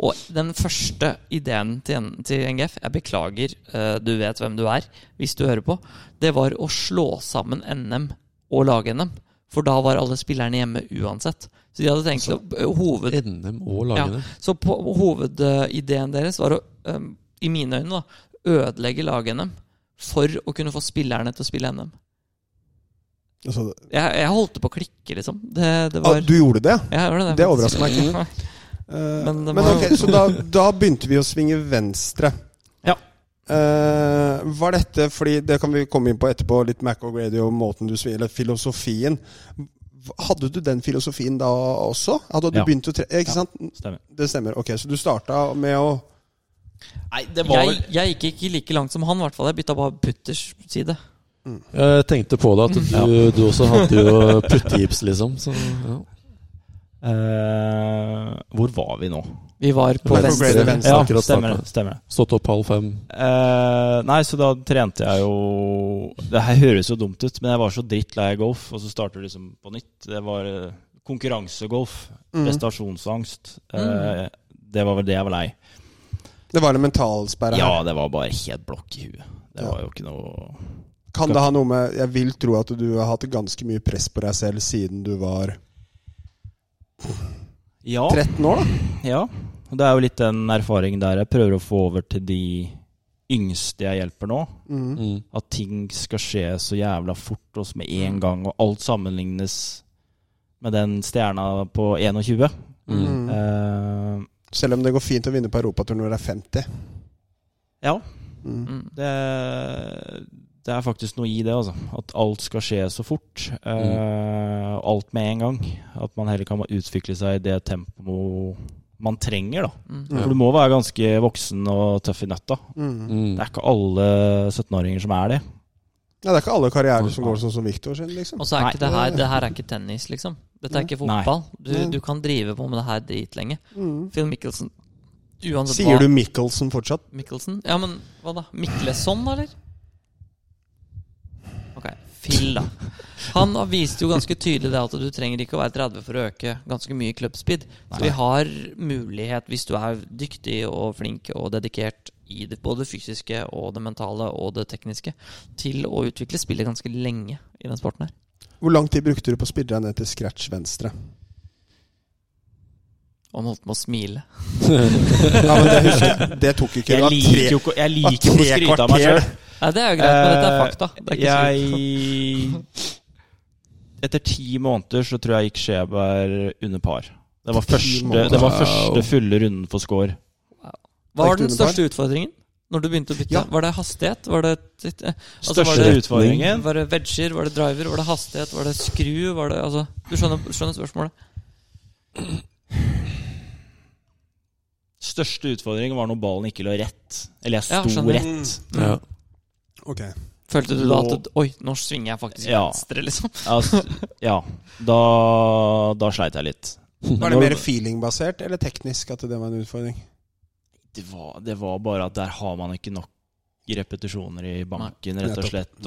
S4: Og den første ideen til, N- til NGF Jeg beklager, eh, du vet hvem du er, hvis du hører på. Det var å slå sammen NM og lage NM. For da var alle spillerne hjemme uansett. Så de hadde tenkt å eh, hoved,
S2: NM og lagene.
S4: så på, hovedideen deres var å, øhm, i mine øyne, da, ødelegge lag-NM for å kunne få spillerne til å spille NM.
S1: Altså,
S4: Jeg, jeg holdt på å klikke, liksom. Det, det
S1: ah,
S4: var
S1: du gjorde det? ja.
S4: jeg gjorde
S1: Det overrasker meg
S4: (laughs)
S1: ikke.
S4: faktisk.
S1: Eh,
S4: Men
S1: men
S4: det var-
S1: ok, så da, da begynte vi å svinge venstre.
S4: Ja.
S1: Eh, var dette fordi Det kan vi komme inn på etterpå, litt Mac O'Grady og måten du svinger Eller filosofien. Hadde du den filosofien da også? Hadde du
S3: Ja.
S1: begynt å tre... Ikke
S3: Ja.
S1: sant?
S3: Stemmer.
S1: Det stemmer. Ok, så du starta med å
S3: Nei, det var
S4: Jeg, jeg gikk ikke like langt som han, i hvert fall. Jeg bytta bare putters side.
S2: Jeg tenkte på det at du, du også hadde jo puttegips, liksom. Så, ja.
S3: Eh, Hvor var vi nå?
S4: Vi var på
S1: Mac
S4: venstre.
S1: O'Grady venstre.
S3: Ja,
S2: akkurat
S3: stemmer
S2: startet.
S3: det. Stemmer det.
S2: Stått opp halv fem.
S3: Eh, nei, så da trente jeg jo Det her høres jo dumt ut, men jeg var så drittlei av golf, og så starter du liksom på nytt. Det var eh, konkurransegolf.
S2: Mm.
S1: Mm.
S3: Prestasjonsangst. Eh, det var vel det jeg var lei.
S1: Det var en mentalsperre
S3: Ja,
S1: her.
S3: det var bare helt blokk i huet. Det
S1: Ja.
S3: var jo ikke noe
S1: Kan det ha noe med Jeg vil tro at du har hatt ganske mye press på deg selv siden du var
S3: Ja.
S1: 13 år, da?
S3: ja. Og Det er jo litt den erfaringen der jeg prøver å få over til de yngste jeg hjelper nå.
S1: Mm.
S2: Mm.
S3: At ting skal skje så jævla fort og med
S1: Mm.
S3: en gang, og alt sammenlignes med den stjerna på 21.
S2: Mm.
S1: Mm.
S3: Eh,
S1: Selv om det går fint å vinne på Europaturen når du er 50.
S3: ja,
S1: Mm.
S4: Mm.
S3: det, det er faktisk noe i det, altså. At alt skal skje så fort. eh,
S1: Mm.
S3: Alt med en gang. At man heller kan utvikle seg i det tempoet man trenger, da.
S4: Mm.
S2: Ja.
S3: For du må være ganske voksen og tøff i nøtta.
S1: Mm.
S3: (laughs)
S2: Mm.
S3: Det er ikke alle 17-åringer som er det.
S1: Ja, det er ikke alle karrierer som går sånn som Victor sin, liksom.
S4: Og så er
S3: Nei.
S4: ikke det her Det her er ikke tennis, liksom. Dette er ikke
S3: Nei.
S4: fotball. Du,
S1: Nei.
S4: du kan drive på med det her dritlenge.
S1: Mm.
S4: Phil Mickelson Uansett
S1: Sier du
S4: hva
S1: Michelsen fortsatt?
S4: Mickelson? Ja, men hva da? Mikkelson, eller? Ok, Phil, da. Han viste jo ganske tydelig det at du trenger ikke å være 30 for å øke ganske mye clubspeed. Så vi har mulighet, hvis du er dyktig og flink og dedikert i det, både det fysiske og det mentale og det tekniske, til å utvikle spillet ganske lenge i den sporten her.
S1: Hvor lang tid brukte du på å spille deg ned til scratch venstre?
S4: Og han holdt på å smile.
S1: Ja, men Det husker jeg. Det tok ikke det
S3: Jeg
S1: var tre-
S3: liker jo ikke jeg liker
S1: det
S3: ikke
S1: var
S3: å
S1: tre
S3: skryte av meg
S1: kvarter.
S3: sjøl.
S4: Nei, det er jo greit, men dette er fakta. Det er ikke så lurt.
S3: jeg Etter ti måneder så tror jeg gikk Skjeberg under par. Det var, første,
S1: måneder.
S3: det var
S2: Wow.
S3: første fulle runden for score.
S4: Hva var den største utfordringen? Når du begynte å bytte?
S1: Ja.
S4: Var det hastighet? Var det altså, var
S3: Største
S4: det
S3: utfordringen
S4: Var det wedger, var det driver, var det hastighet, var det skru? Var det, altså, du skjønner, skjønner spørsmålet?
S3: største utfordring var når ballen ikke lå rett. Eller jeg
S4: Ja,
S3: sto
S4: skjønner.
S3: rett.
S1: Mm.
S2: Ja.
S1: Ok.
S4: Følte du da at Oi, nå svinger jeg faktisk
S3: Ja.
S4: venstre, liksom?
S3: Altså, ja. Da, da sleit jeg litt.
S1: Var det
S3: Når-
S1: mer feeling-basert eller teknisk at det var en utfordring?
S3: det var, det var bare at der har man ikke nok repetisjoner i banken, rett og
S1: Nettopp,
S3: slett.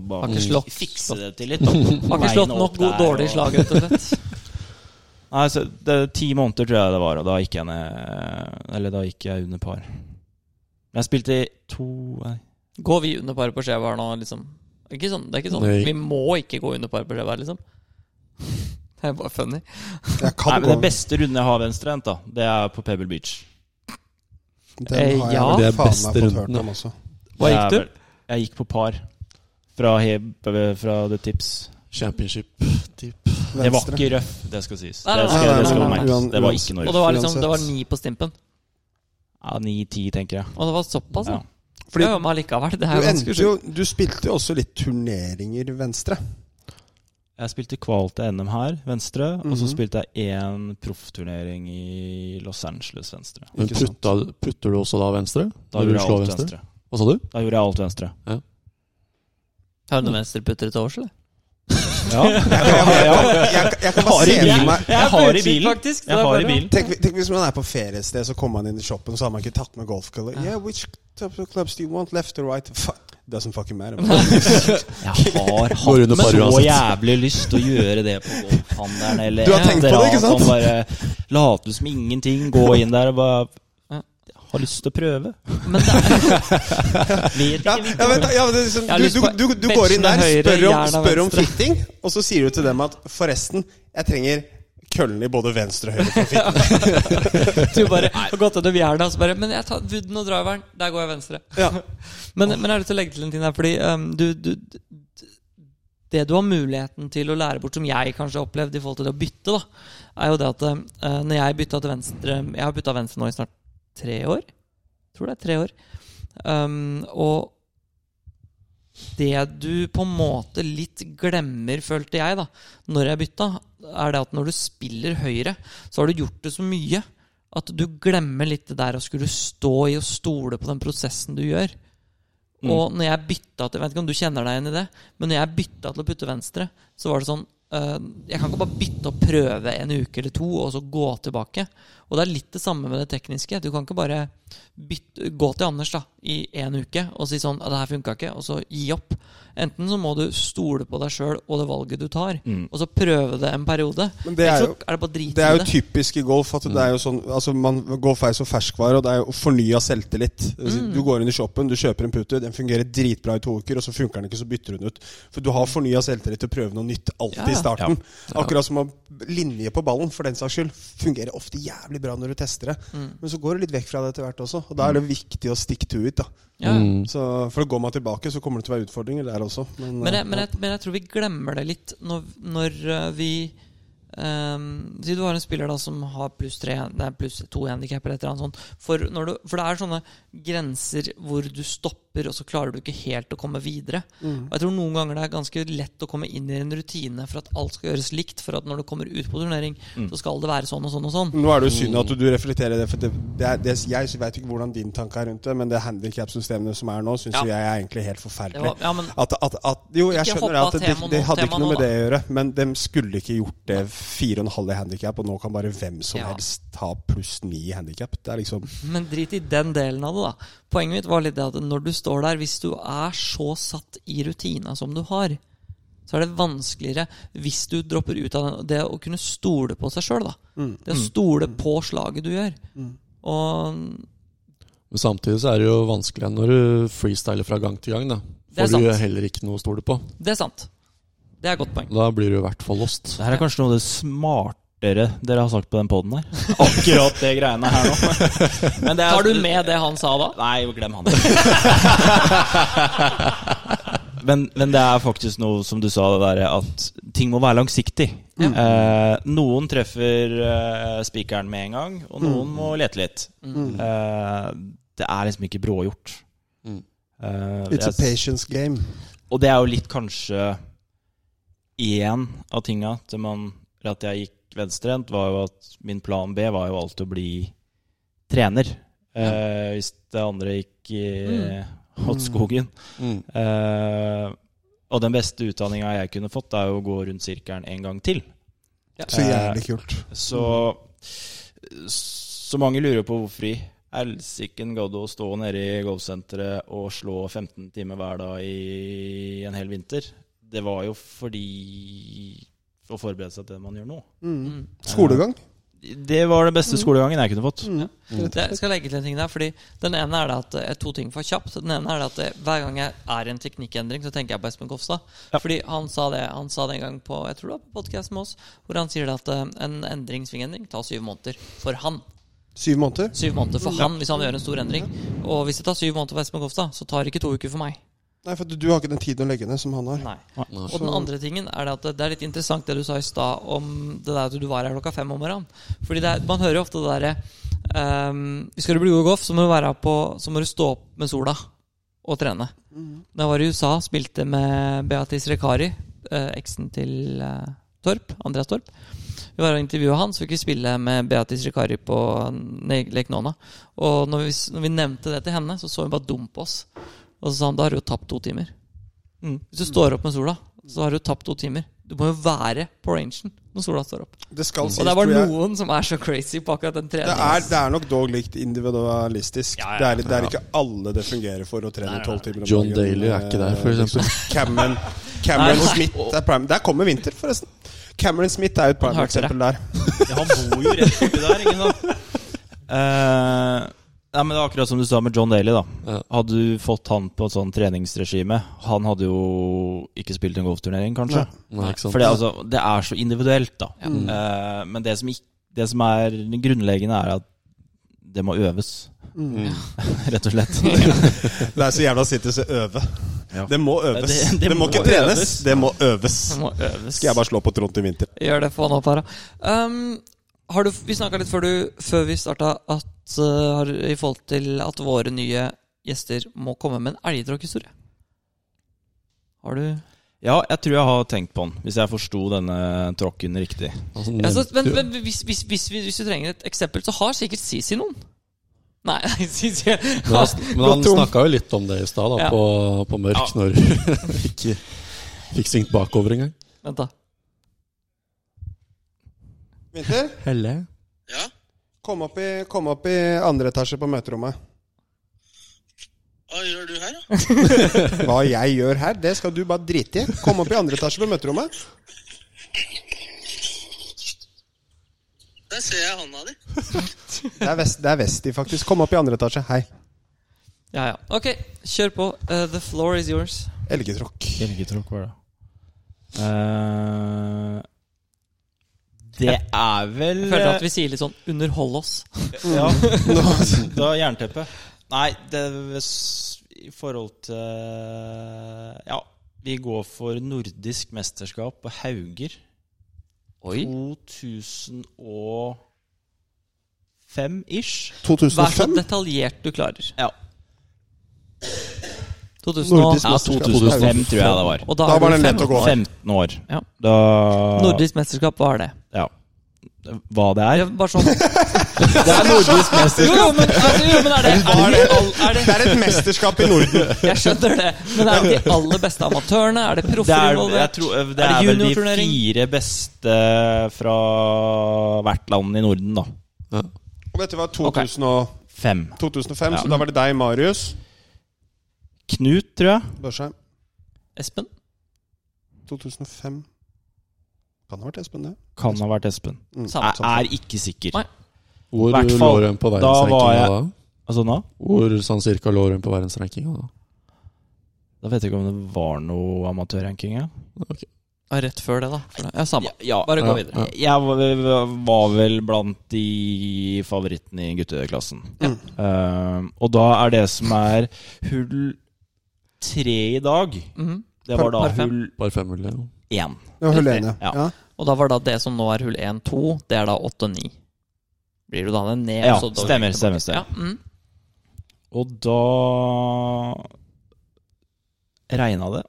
S4: Har
S3: bare
S4: ikke slått,
S3: fikse det til litt. opp-
S4: (laughs) har ikke
S3: veien
S4: slått nok
S3: opp
S4: god,
S3: der,
S4: dårlig slag,
S3: og-
S4: rett og slett. (laughs)
S3: Nei, så det, Ti måneder tror jeg det var, og da gikk jeg ned Eller da gikk jeg under par. Men jeg spilte i to nei.
S4: Går vi under paret på skjeva her nå, liksom? Ikke sånn, det er ikke sånn.
S2: Nei.
S4: Vi må ikke gå under paret på skjeva her, liksom. (laughs) Det er bare funny.
S1: Jeg
S3: nei,
S1: kan
S3: men
S1: gå.
S3: Den beste runden jeg har venstrehendt, da, det er på Pebble Beach.
S1: Den har
S4: Eh, ja.
S1: jeg
S2: Det
S1: vel
S2: er
S1: faen
S2: beste
S1: meg fått hørt
S2: runden,
S1: om også.
S4: Hva
S3: Det
S4: gikk
S3: er
S4: du?
S3: vel- Jeg gikk på par. Fra, Heb, fra The Tips.
S2: Championship.
S3: Det var
S1: Venstre.
S3: ikke røff, det skal sies.
S4: Nei, nei,
S3: Det skal,
S4: nei,
S3: det skal
S4: nei, nei,
S3: merkes.
S1: uan-
S3: Det var
S1: uans-
S3: ikke
S4: Og
S3: noe
S4: det
S3: røff.
S4: var liksom, det var
S1: Uansett.
S4: ni på stimpen.
S3: Ja, 9-10, tenker jeg.
S4: Og det var såpass, ja.
S3: Ja.
S1: Fordi
S4: ja, men allikevel. Det
S1: du,
S4: er jo ganske
S1: endte jo,
S4: sjukt.
S1: du spilte jo også litt turneringer venstre.
S3: Jeg spilte kval til NM her, venstre. Og så
S1: Mhm.
S3: spilte jeg én proffturnering i Los Angeles, venstre.
S2: Men
S1: Ikke sant.
S2: putta, putter du også da venstre?
S3: Da
S2: Når
S3: gjorde
S2: du
S3: jeg
S2: slår
S3: alt
S2: venstre?
S3: venstre.
S2: Hva sa du?
S3: Da gjorde jeg alt venstre.
S4: Har du noen venstreputter til overs, eller?
S3: Ja,
S1: Jeg,
S3: ja,
S1: jeg,
S3: ja.
S1: jeg, jeg kan bare
S3: i
S1: se for
S3: bilen.
S1: meg
S3: Jeg har i bilen.
S4: Faktisk, så
S3: Jeg
S4: det er
S3: har i
S4: bare-
S3: bilen.
S1: tenk, tenk hvis man er på feriested, så kommer man inn i shoppen, så har man ikke tatt med golfkøller.
S4: Ja.
S1: Yeah, which type of clubs do you want? Left or right? Fuck. Doesn't fucking
S4: (laughs)
S1: matter.
S3: Jeg
S1: (laughs)
S3: har
S2: Går
S3: hatt
S2: under par
S3: så
S2: uansett.
S3: jævlig lyst til å gjøre det på golfhandelen eller
S1: Du har tenkt på det, ikke sant?
S3: Sånn bare late som ingenting, gå inn der og bare har lyst til å prøve.
S4: Men det er,
S3: Vet
S1: Ja,
S3: ikke
S1: ja, men,
S3: hvilken-
S1: ja, men det er liksom,
S4: Jeg har lyst
S1: du,
S4: på
S1: du, du, du går inn der,
S4: benchene
S1: spør
S4: høyre,
S1: om,
S4: jernet
S1: spør om
S4: venstre.
S1: fitting, og så sier du til dem at forresten, jeg trenger køllen i både venstre og høyre for fitting.
S4: du bare har gått gjennom jernet og så bare Men jeg tar wooden og driveren. Der går jeg venstre.
S1: Ja.
S4: (laughs) Men, men jeg har lyst til å legge til en ting der, fordi ehm, du, du d- Det du har muligheten til å lære bort, som jeg kanskje har opplevd i forhold til det å bytte, da, er jo det at eh, når jeg bytta til venstre Jeg har bytta venstre nå i snart tre år. Tror det er tre år. Ehm, og det du på en måte litt glemmer, følte jeg, da, når jeg bytta, er det at når du spiller høyre, så har du gjort det så mye at du glemmer litt det der å skulle stå i og stole på den prosessen du gjør. Og når jeg bytta til Jeg vet ikke om du kjenner deg igjen i det, men når jeg bytta til å putte venstre, så var det sånn eh, Jeg kan ikke bare bytte og prøve en uke eller to, og så gå tilbake. Og det er litt det samme med det tekniske. Du kan ikke bare bytte, gå til Anders da i en uke og si sånn «Ja, 'Det her funka ikke', og så gi opp. Enten så må du stole på deg sjøl og det valget du tar,
S3: Mm.
S4: og så prøve det en periode.
S1: Men det er
S4: Ellers
S1: jo-
S4: så er det bare drit
S1: Det er jo
S4: i det.
S1: typisk i golf at det er jo sånn Altså man, Golf er jo så ferskvare, og det er jo fornya selvtillit. Altså,
S4: Mm.
S1: Du går inn i shoppen, du kjøper en putter, den fungerer dritbra i to uker, og så funker den ikke, så bytter du den ut. For du har fornya selvtillit til å prøve noe nytt alltid
S4: Ja,
S1: i
S4: ja.
S1: starten. Akkurat som at linje på ballen, for den saks skyld, fungerer ofte jævlig bra når du tester det.
S4: Mm.
S1: Men så går du litt vekk fra det etter hvert også, og da er det viktig å stick to it. da
S4: Ja.
S2: Mm.
S1: så, For går man tilbake, så kommer det til å være utfordringer der også. Men,
S4: Men jeg,
S1: eh,
S4: men, jeg, men jeg tror vi glemmer det litt når, når eh, vi ehm, Si du har en spiller da som har pluss, tre, nei, pluss to handikap eller et eller annet sånt. For, når du, for det er sånne grenser hvor du stopper, og så klarer du ikke helt å komme videre.
S1: Mm.
S4: Og jeg tror noen ganger det er ganske lett å komme inn i en rutine for at alt skal gjøres likt. For at når du kommer ut på turnering, så skal det være sånn og sånn og sånn.
S1: Nå er det jo synd at du reflekterer det, for det, det er, det, jeg vet ikke hvordan din tanke er rundt det, men det handikapsystemet som er nå, syns
S4: Ja.
S1: jo jeg er egentlig helt forferdelig.
S4: Det var- ja, men-
S1: at, at, at, jo, jeg
S4: Ikke
S1: skjønner det
S4: hoppe
S1: at
S4: av
S1: det,
S4: tema
S1: det
S4: nå,
S1: hadde
S4: tema
S1: ikke noe
S4: nå,
S1: med det å gjøre, men de skulle ikke gjort det fire og en halv i handikap, og nå kan bare hvem som
S4: Ja.
S1: helst ta pluss ni i handikap. Det er liksom
S4: Men drit i den delen av det, da. Poenget mitt var litt det at når du står der, hvis du er så satt i rutina som du har, så er det vanskeligere hvis du dropper ut av den, det å kunne stole på seg sjøl, da. Det å stole på slaget du gjør. Og
S2: Men samtidig så er det jo vanskelig når du freestyler fra gang til gang. da
S4: Det er
S2: Får du
S4: sant.
S2: heller ikke noe å stole på.
S4: det er sant. Det er et godt poeng.
S2: Da blir du i hvert fall lost.
S3: Det her er kanskje noe av det smartere dere har sagt på den
S1: (laughs)
S3: poden her. Akkurat det greiene her nå. Men det er-
S4: Tar du med det han sa da?
S3: Nei, glem han. (laughs) men, men det er faktisk noe som du sa, det derre at ting må være langsiktig. Eh, noen treffer eh, spikeren med en gang, og noen må lete litt. Eh, det er liksom ikke brågjort.
S2: Mm.
S3: Eh,
S1: It's a
S3: jeg-
S1: patience game.
S3: og det er jo litt kanskje én av tinga til man, eller at jeg gikk venstrehendt, var jo at min plan B var jo alltid å bli trener. eh, hvis det andre gikk i åt skogen.
S2: Mm.
S3: Eh, og den beste utdanninga jeg kunne fått, er jo å gå rundt sirkelen en gang til.
S4: Eh.
S3: Eh,
S1: Så jævlig kult.
S3: Så, så mange lurer på hvorfor i helsike gadd å stå nede i golfsenteret og slå 15 timer hver dag i en hel vinter. Det var jo fordi For å forberede seg til det man gjør nå.
S1: Mm. Skolegang.
S3: Det var den
S2: Mm.
S3: beste skolegangen jeg kunne fått.
S1: Mm.
S4: Det, jeg skal legge til en ting der, fordi Den ene er det at eh, to ting for kjapt. Den ene er det at eh, Hver gang jeg er i en teknikkendring, så tenker jeg på Espen Kofstad. Fordi han sa det Han sa det en gang på Jeg tror det var på podcasten med oss, hvor han sier det at eh, en endring, svingendring, tar syv måneder for han.
S1: Syv måneder.
S4: Syv måneder for han hvis han gjør en stor endring. Og hvis det tar syv måneder for Espen Kofstad, så tar det ikke to uker for meg.
S1: Nei, for du, du har ikke den tiden å legge ned som han har.
S4: Nei. Og den andre tingen er det at det- det er litt interessant det du sa i stad om det der at du var her klokka fem om morgenen. Fordi det er, man hører jo ofte det derre ehm, Skal du bli god i golf, så må du, være på, så må du stå opp med sola og trene. Da jeg var i USA, spilte med Beatrice Rekari, eh, eksen til eh, Torp, Andreas Torp. Vi var og intervjua han, så fikk vi spille med Beatrice Rekari på Ne- Lake Nona. Og når vi, når vi nevnte det til henne, så så hun bare dum på oss. Og så sa han da har du jo tapt to timer. Hvis du står opp med sola, så har du tapt to timer. Du må jo være på rangen når sola står opp.
S1: Det skal sies,
S4: Mm. Og det er bare
S1: tror jeg.
S4: noen som er så crazy på akkurat den
S1: Det er,
S4: treningen.
S1: det er nok dog likt individualistisk.
S4: Ja, ja.
S1: Det, er, litt- det er ikke alle det fungerer for å trene tolv timer om
S2: John
S1: dagen. eh, liksom
S2: Daly er ikke der, for eksempel. (laughs)
S1: Cameron, Cameron
S4: Nei, nei.
S1: Smith er prime. Der kommer vinter, forresten. Cameron Smith er jo et prime
S4: hørte
S1: eksempel der.
S3: Han bor jo rett oppi der, ikke sant? (laughs) Eh, nei, men det er akkurat som du sa med John Daly, da.
S2: Ja.
S3: Hadde du fått han på et sånt treningsregime Han hadde jo ikke spilt en golfturnering, kanskje.
S2: Nei, ikke sant?
S3: For det, altså, det er så individuelt, da.
S4: Mm.
S3: Eh, men det som, ikk- det som er grunnleggende, er at det må øves. (laughs) Mm. Rett
S4: (laughs)
S3: og slett.
S1: (laughs) Det er så jævla sittes å øve.
S3: Ja.
S1: Det må øves. Det,
S3: Ja, det- det
S1: må
S3: må
S1: ikke trenes,
S3: øves.
S1: det må øves.
S4: Det må øves.
S1: Skal jeg bare slå på Trond til vinter.
S4: Gjør det, få han opp her, da. Um, har du, vi snakka litt før, du, før vi starta, at, uh, har- i forhold til at våre nye gjester må komme med en elgtråkkhistorie. Har du
S3: Ja, jeg tror jeg har tenkt på han, hvis jeg forsto denne tråkken riktig.
S2: Altså,
S4: ja, så,
S2: nevnte
S4: men,
S2: jo-
S4: men hvis, hvis, hvis, vi- hvis du trenger et eksempel, så har sikkert Sisi noen. Nei, (laughs) Sisi
S2: Men
S4: (laughs)
S2: han, men han
S1: tom.
S2: snakka jo litt om det i stad, da,
S4: Ja.
S2: på, på Mørk, når (laughs) han ikke fikk svingt bakover engang.
S4: Vent, da.
S1: Vinter,
S2: Helle?
S6: Ja,
S1: kom opp i, kom opp i andre etasje på møterommet.
S6: hva gjør du her, da?
S1: Hva jeg gjør her, det skal du bare drite i. Kom opp i andre etasje på møterommet.
S6: Der ser jeg hånda di.
S1: Det er, vest, det er Vesti, faktisk. Kom opp i andre etasje. Hei.
S4: Ja, ja. Ok, kjør på. Uh, the floor is yours.
S1: Elgetråkk.
S3: Elgetråkk, hva er det? Eh, det er vel eh,
S4: Jeg føler at vi sier litt sånn 'underhold oss'. (laughs)
S3: Ja, (laughs) da jernteppe. Nei, det hvis- i forhold til Ja, vi går for nordisk mesterskap på Hauger.
S4: Oi.
S3: 2005-ish.
S4: Vær så
S1: 2005?
S4: detaljert du klarer.
S3: Ja.
S4: 2000 og,
S1: Nordisk
S3: ja,
S1: mesterskap.
S3: 2005 tror jeg det var.
S4: og
S1: Da
S4: da, er
S1: var
S4: du
S1: det
S4: fem.
S1: lett å gå.
S3: 15 år.
S4: Ja.
S3: Da
S4: Nordisk mesterskap, hva er det?
S3: Ja. Hva det er?
S4: Ja, bare sånn
S3: Det er nordisk
S4: Jo,
S3: mesterskap.
S4: jo, men, altså, jo, men er, det, er, det, all- er
S1: Det
S4: det
S1: er et mesterskap i Norden.
S4: Jeg skjønner det, men er det de aller beste amatørene? Er det
S3: Det
S4: proffer
S3: er, jeg
S4: involvert?
S3: tror, det
S4: det
S3: er vel de
S4: juniorturnering?
S3: fire beste fra hvert land i Norden, da.
S2: Ja.
S1: Og dette var 2000 og,
S3: Fem.
S1: 2005,
S3: Ja.
S1: så da var det deg, Marius.
S3: Knut, tror jeg.
S1: Børsheim.
S4: Espen?
S1: 2005 Kan ha vært Espen, det.
S3: Kan ha vært Espen.
S4: Samme.
S3: Jeg er ikke sikker.
S4: sånn. Nei.
S2: Hvor
S3: Hvert
S2: lå
S3: fall,
S2: hun på
S3: da var
S2: verdensrankinga
S3: jeg-
S2: da?
S3: Altså nå?
S2: Hvor sånn cirka lå hun på verdensrankinga da?
S3: Da vet jeg ikke om det var noe amatørranking. Ja.
S2: Ok.
S4: Ja, Rett før det, da. For det- Ja, samme.
S3: ja,
S4: Bare gå
S2: Ja,
S4: videre.
S3: Jeg var, var vel blant de favorittene i gutteklassen.
S4: Ja.
S3: Um, og da er det som er hull tre i dag
S4: Mhm.
S3: Det var da
S4: Par fem.
S3: hull
S2: Bare femhull, ja.
S3: én.
S1: Det var Helene.
S3: Ja.
S1: Ja.
S4: Og da var da det som nå er hull 1, 2, det er da 8 og 9. Blir du da ned?
S3: Ja,
S4: så da-
S3: stemmer, stemmer, stemmer.
S4: Ja, mm.
S3: Og da regna det.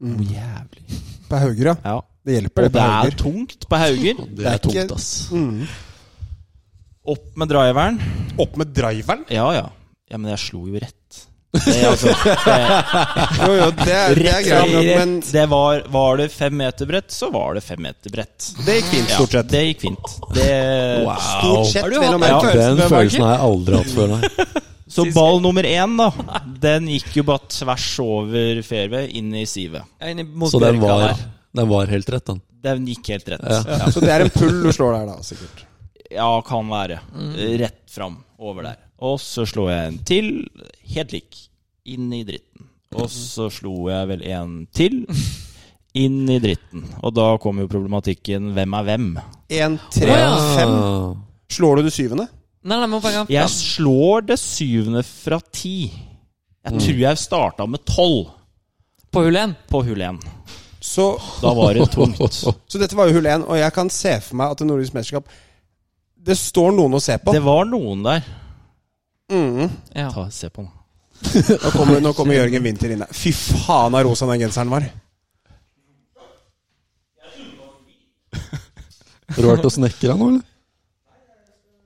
S1: Mm.
S3: Noe jævlig.
S1: På Hauger, ja.
S3: Ja.
S1: Det hjelper, det.
S3: Og det
S1: På
S3: er
S1: Hauger.
S3: tungt på Hauger.
S2: Det er
S1: ikke-
S2: tungt, ass.
S1: Mm.
S3: Opp med driveren.
S1: opp med driveren?
S3: Ja, ja. Ja, Men jeg slo jo rett. Det, er altså,
S1: (laughs)
S3: det,
S1: Jo, jo, det, er- det er
S3: rett,
S1: greit nok, men
S3: rett. det var, var det fem meter bredt, så var det fem meter bredt.
S1: det gikk fint,
S3: Ja,
S1: stort sett.
S3: det gikk fint. Det,
S1: Stort sett,
S4: Har du
S1: vel å
S4: hatt
S1: merke.
S3: den
S2: Den
S1: følelsen,
S2: følelsen
S1: Marker.
S2: har jeg aldri hatt
S3: (laughs)
S2: før, nei.
S3: Så ball nummer én, da, den gikk jo bare tvers over fairway, inn i sivet.
S4: Jeg er inne mot
S2: Så den
S4: bjørka
S2: var,
S4: der.
S2: den var helt rett, den.
S3: Den gikk helt rett.
S2: Ja.
S3: Ja,
S1: Så det er en pull du slår der, da, sikkert.
S3: Ja, kan være. Rett fram. Over der. Og så slo jeg en til, helt lik. Inn i dritten. Og så slo jeg vel en til. Inn i dritten. Og da kom jo problematikken hvem er hvem?
S1: En, tre,
S4: ja.
S1: fem. Slår du det syvende?
S4: Nei, nei, men poenget er-
S3: Jeg slår det syvende fra ti. Jeg tror jeg starta med tolv
S4: På hull én.
S3: på hull én.
S1: Så,
S3: Da var det tungt.
S1: så dette var jo hull én, og jeg kan se for meg at det nordiske mesterskap Det står noen å se på.
S3: Det var noen der.
S1: Mm.
S4: Ja.
S3: Ta, se på den.
S1: Nå kommer, nå kommer Jørgen Winther inn der. Fy faen, så rosa den genseren var.
S2: Har du vært og snekra nå, eller?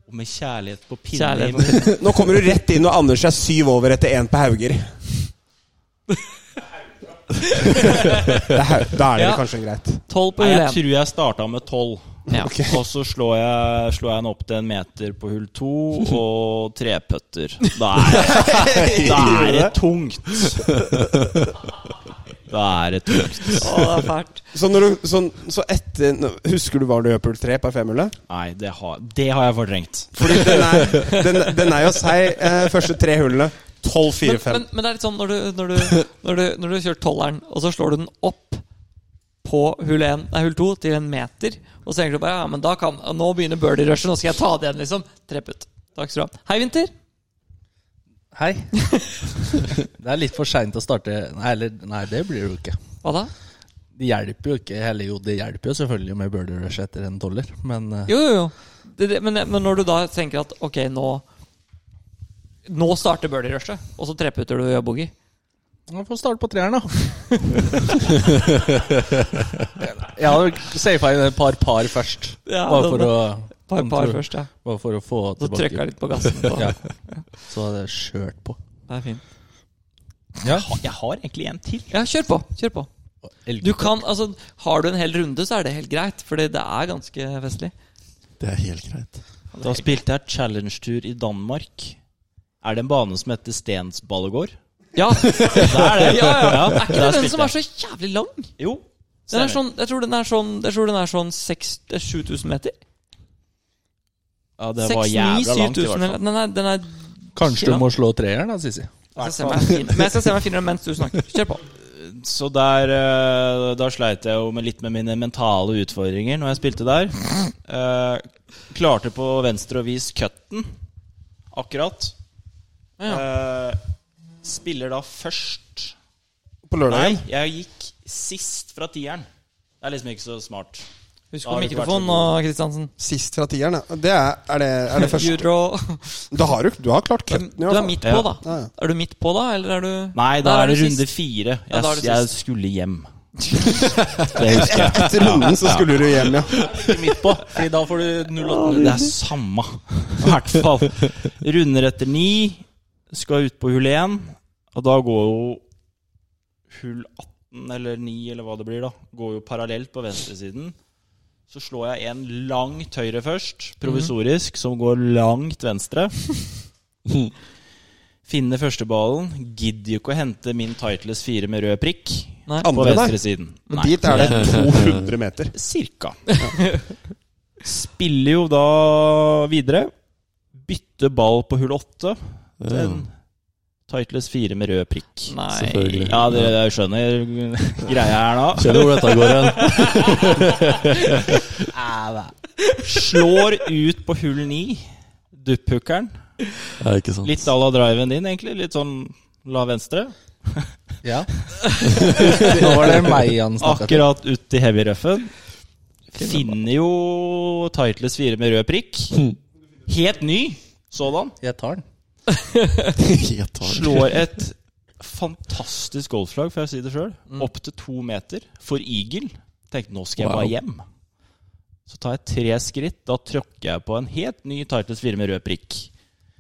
S3: Og Med kjærlighet på pinne.
S4: Kjærlighet
S3: i-
S1: Nå kommer du rett inn, og Anders er syv over etter én på Hauger. Det er, Hau- da er det
S4: Ja.
S1: kanskje greit.
S4: Tolv på
S3: Nei,
S4: hull
S3: jeg
S4: én.
S3: tror jeg starta med tolv.
S4: Ja.
S3: Og så slår jeg, slår jeg den opp til en meter på hull to, og treputter. Da (laughs) er, det- da er det tungt. Da er det tungt.
S4: Å, det er
S3: (laughs)
S4: fælt.
S1: Så, når du, så, så etter nå- Husker du hva du gjør på hull tre på femhullet?
S3: Nei, det har, det har jeg fortrengt.
S1: Fordi den er, den, den er jo seig, eh, første tre hullene. 12, 4,
S4: Men,
S1: 5.
S4: men, men det er litt sånn når du, når du, når du, når du kjører tolveren, og så slår du den opp på hull 1, nei, hull 2 til en meter, og så tenker du bare ja, men da kan og Nå begynner birdie-rushet, nå skal jeg ta det igjen, liksom. Tre putt. Takk skal du ha. Hei, Winter.
S7: Hei. Det er litt for seint å starte Nei, eller, nei, det blir det jo ikke.
S4: Hva da?
S7: Det hjelper jo ikke Eller jo, det hjelper jo selvfølgelig med Burder Rush etter en dollar, men eh,
S4: Jo, jo, jo. Det, det, men, men når du da tenker at ok, nå Nå starter birdie-rushet, og så treputter du og gjør boogie.
S7: man får starte på
S4: (laughs)
S7: treeren, da. Jeg hadde safa inn et par par først.
S4: Ja,
S7: bare,
S4: det-
S7: for å,
S4: Par, par
S7: Tror-
S4: først, ja.
S7: bare for å få
S4: Så trykker
S7: tilbake
S4: jeg litt på gassen. På.
S7: Ja. Så hadde jeg skjørt på.
S4: Det er fint.
S7: Ja.
S3: Jeg har egentlig en til.
S4: Ja, kjør på. Kjør på.
S7: elg-
S4: Du kan, altså, har du en hel runde, så er det helt greit, for det er ganske festlig.
S2: Det er helt greit.
S3: Da spilte jeg challenge-tur i Danmark. Er det en bane som heter Stensballegård?
S4: Ja,
S3: Det er det.
S4: Ja, ja, ja. Er ikke det
S3: der
S4: den
S3: spilte
S4: som er
S3: jeg.
S4: så jævlig lang?
S3: Jo.
S4: Den er sånn, jeg tror den er sånn, jeg tror den er sånn 6000-7000 meter.
S3: Ja, det var jævla langt, i hvert fall.
S4: Den er, den er
S7: Kanskje du må slå treeren, da, Sisi.
S4: jeg skal se om jeg finner- Men jeg skal se om jeg finner den mens du snakker. Kjør på.
S3: Så der, eh, da sleit jeg jo med litt med mine mentale utfordringer når jeg spilte der. Eh, klarte på venstre å vise cutten akkurat. Eh, spiller da først
S1: På
S3: Nei,
S1: lørdagen.
S3: jeg gikk sist fra tieren. Det er liksom ikke så smart.
S4: Husk
S3: Da
S4: på
S3: har du ikke vært så
S4: mikrofonen nå,
S3: god.
S4: Kristiansen.
S1: Sist fra tieren, ja. Det er, er, det, er det første
S4: Juro.
S1: Da har du, du har klart cutten, i
S4: Du
S1: hvert
S4: er
S1: fall.
S4: midt
S3: Ja.
S4: på, da.
S1: Ja, ja.
S4: Er du midt på, da, eller er du
S3: Nei, da
S4: Der
S3: er det runde
S4: sist.
S3: fire. Jeg,
S4: Ja, da er det
S3: jeg
S4: sist.
S3: skulle hjem. (laughs) Det husker jeg.
S1: Etter runden så skulle du hjem, ja.
S7: Midt på, Fordi da får du 08.
S3: Det er samme. I hvert fall. Runder etter ni, skal ut på hull én, og da går jo hull 18 eller 9 eller hva det blir, da, går jo parallelt på venstresiden. Så slår jeg en langt høyre først, provisorisk, som går langt venstre. Finner første ballen. Gidder jo ikke å hente min Titles 4 med rød prikk
S4: Nei.
S3: på
S1: Andre, nei.
S3: venstresiden.
S1: Og dit er det 200 meter.
S3: Cirka. Spiller jo da videre. Bytter ball på hull åtte.
S2: Ja,
S3: Den Titles fire med rød prikk.
S4: Nei.
S7: Mm.
S2: selvfølgelig.
S3: Ja, dere dere skjønner greia her nå.
S2: Kjenner hvor dette går
S3: (laughs)
S2: hen.
S3: Slår ut på hull ni. Dupphookeren.
S2: Ja, ikke (laughs) sant.
S3: Litt à la driven din, egentlig. Litt sånn la venstre.
S7: Ja. (laughs) Nå var det meg han snakka til.
S3: Akkurat ut i heavy røffen. Finner jo Titles fire med rød prikk.
S7: Mm.
S3: Helt ny sådan.
S7: Jeg tar den.
S2: Helt hard.
S3: slår et fantastisk golfslag, for å si det sjøl, opp til to meter for eagle. Tenkte nå skal jeg
S2: Wow.
S3: bare hjem. Så tar jeg tre skritt, da tråkker jeg på en helt ny Titles 4 med rød prikk.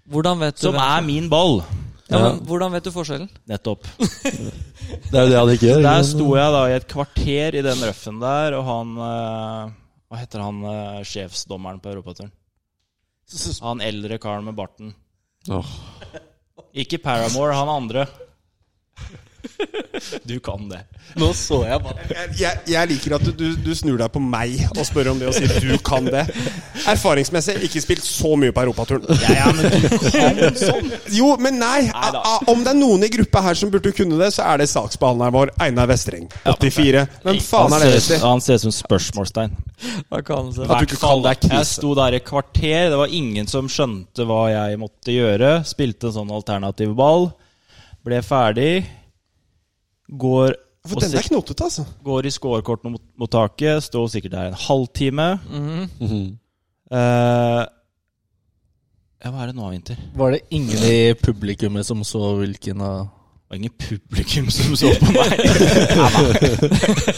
S4: Hvordan vet du
S3: Som
S4: hvem-
S3: er min ball.
S4: ja, men, Hvordan vet du forskjellen?
S3: Nettopp.
S2: Det er jo det han ikke gjør.
S3: Der sto jeg da i et kvarter i den røffen der, og han eh, Hva heter han eh, sjefsdommeren på Europaturen? Han eldre karen med barten.
S2: Åh.
S3: Ikke Paramore, han andre. Du kan det.
S7: Nå så jeg bare
S1: Jeg, jeg, jeg liker at du, du, du snur deg på meg og spør om det og sier du kan det. Erfaringsmessig ikke spilt så mye på europaturen.
S3: sånn.
S1: Jo, men nei.
S3: Neida.
S1: a- a- Om det er noen i gruppa her som burde kunne det, så er det saksbehandleren vår, Einar Vestreng. 84. Hvem faen er det?
S3: Han ser-
S1: egentlig?
S3: Han ser ut som spørsmålstegn.
S4: Hva kan han si?
S1: At du ikke kaller deg
S3: Jeg
S1: knise.
S3: sto der i et kvarter, det var ingen som skjønte hva jeg måtte gjøre. Spilte en sånn alternativ ball. Ble ferdig. Går, og
S1: For den
S3: sik-
S1: er knotete, altså.
S3: går i scorekortmottaket. Står sikkert der en halvtime.
S1: Mhm.
S3: Eh, ja, hva er det nå, Winter? Det
S7: Var det ingen i publikummet som så hvilken av
S3: var ingen publikum som så på meg.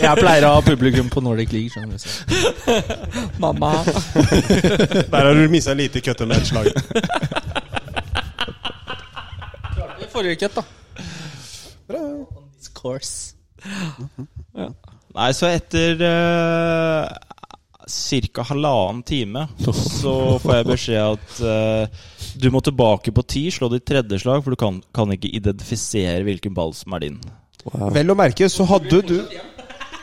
S7: Jeg pleier å ha publikum på Nordic League. skjønner du så.
S4: Mamma.
S1: Der har du mista lite køtte med et slag.
S7: Det er Forrige cut, da. Bra. Discourse.
S3: Nei, så etter uh, ca. halvannen time så får jeg beskjed at eh, du må tilbake på ti, slå ditt tredje slag, for du kan, kan ikke identifisere hvilken ball som er din.
S1: Vel å merke så hadde du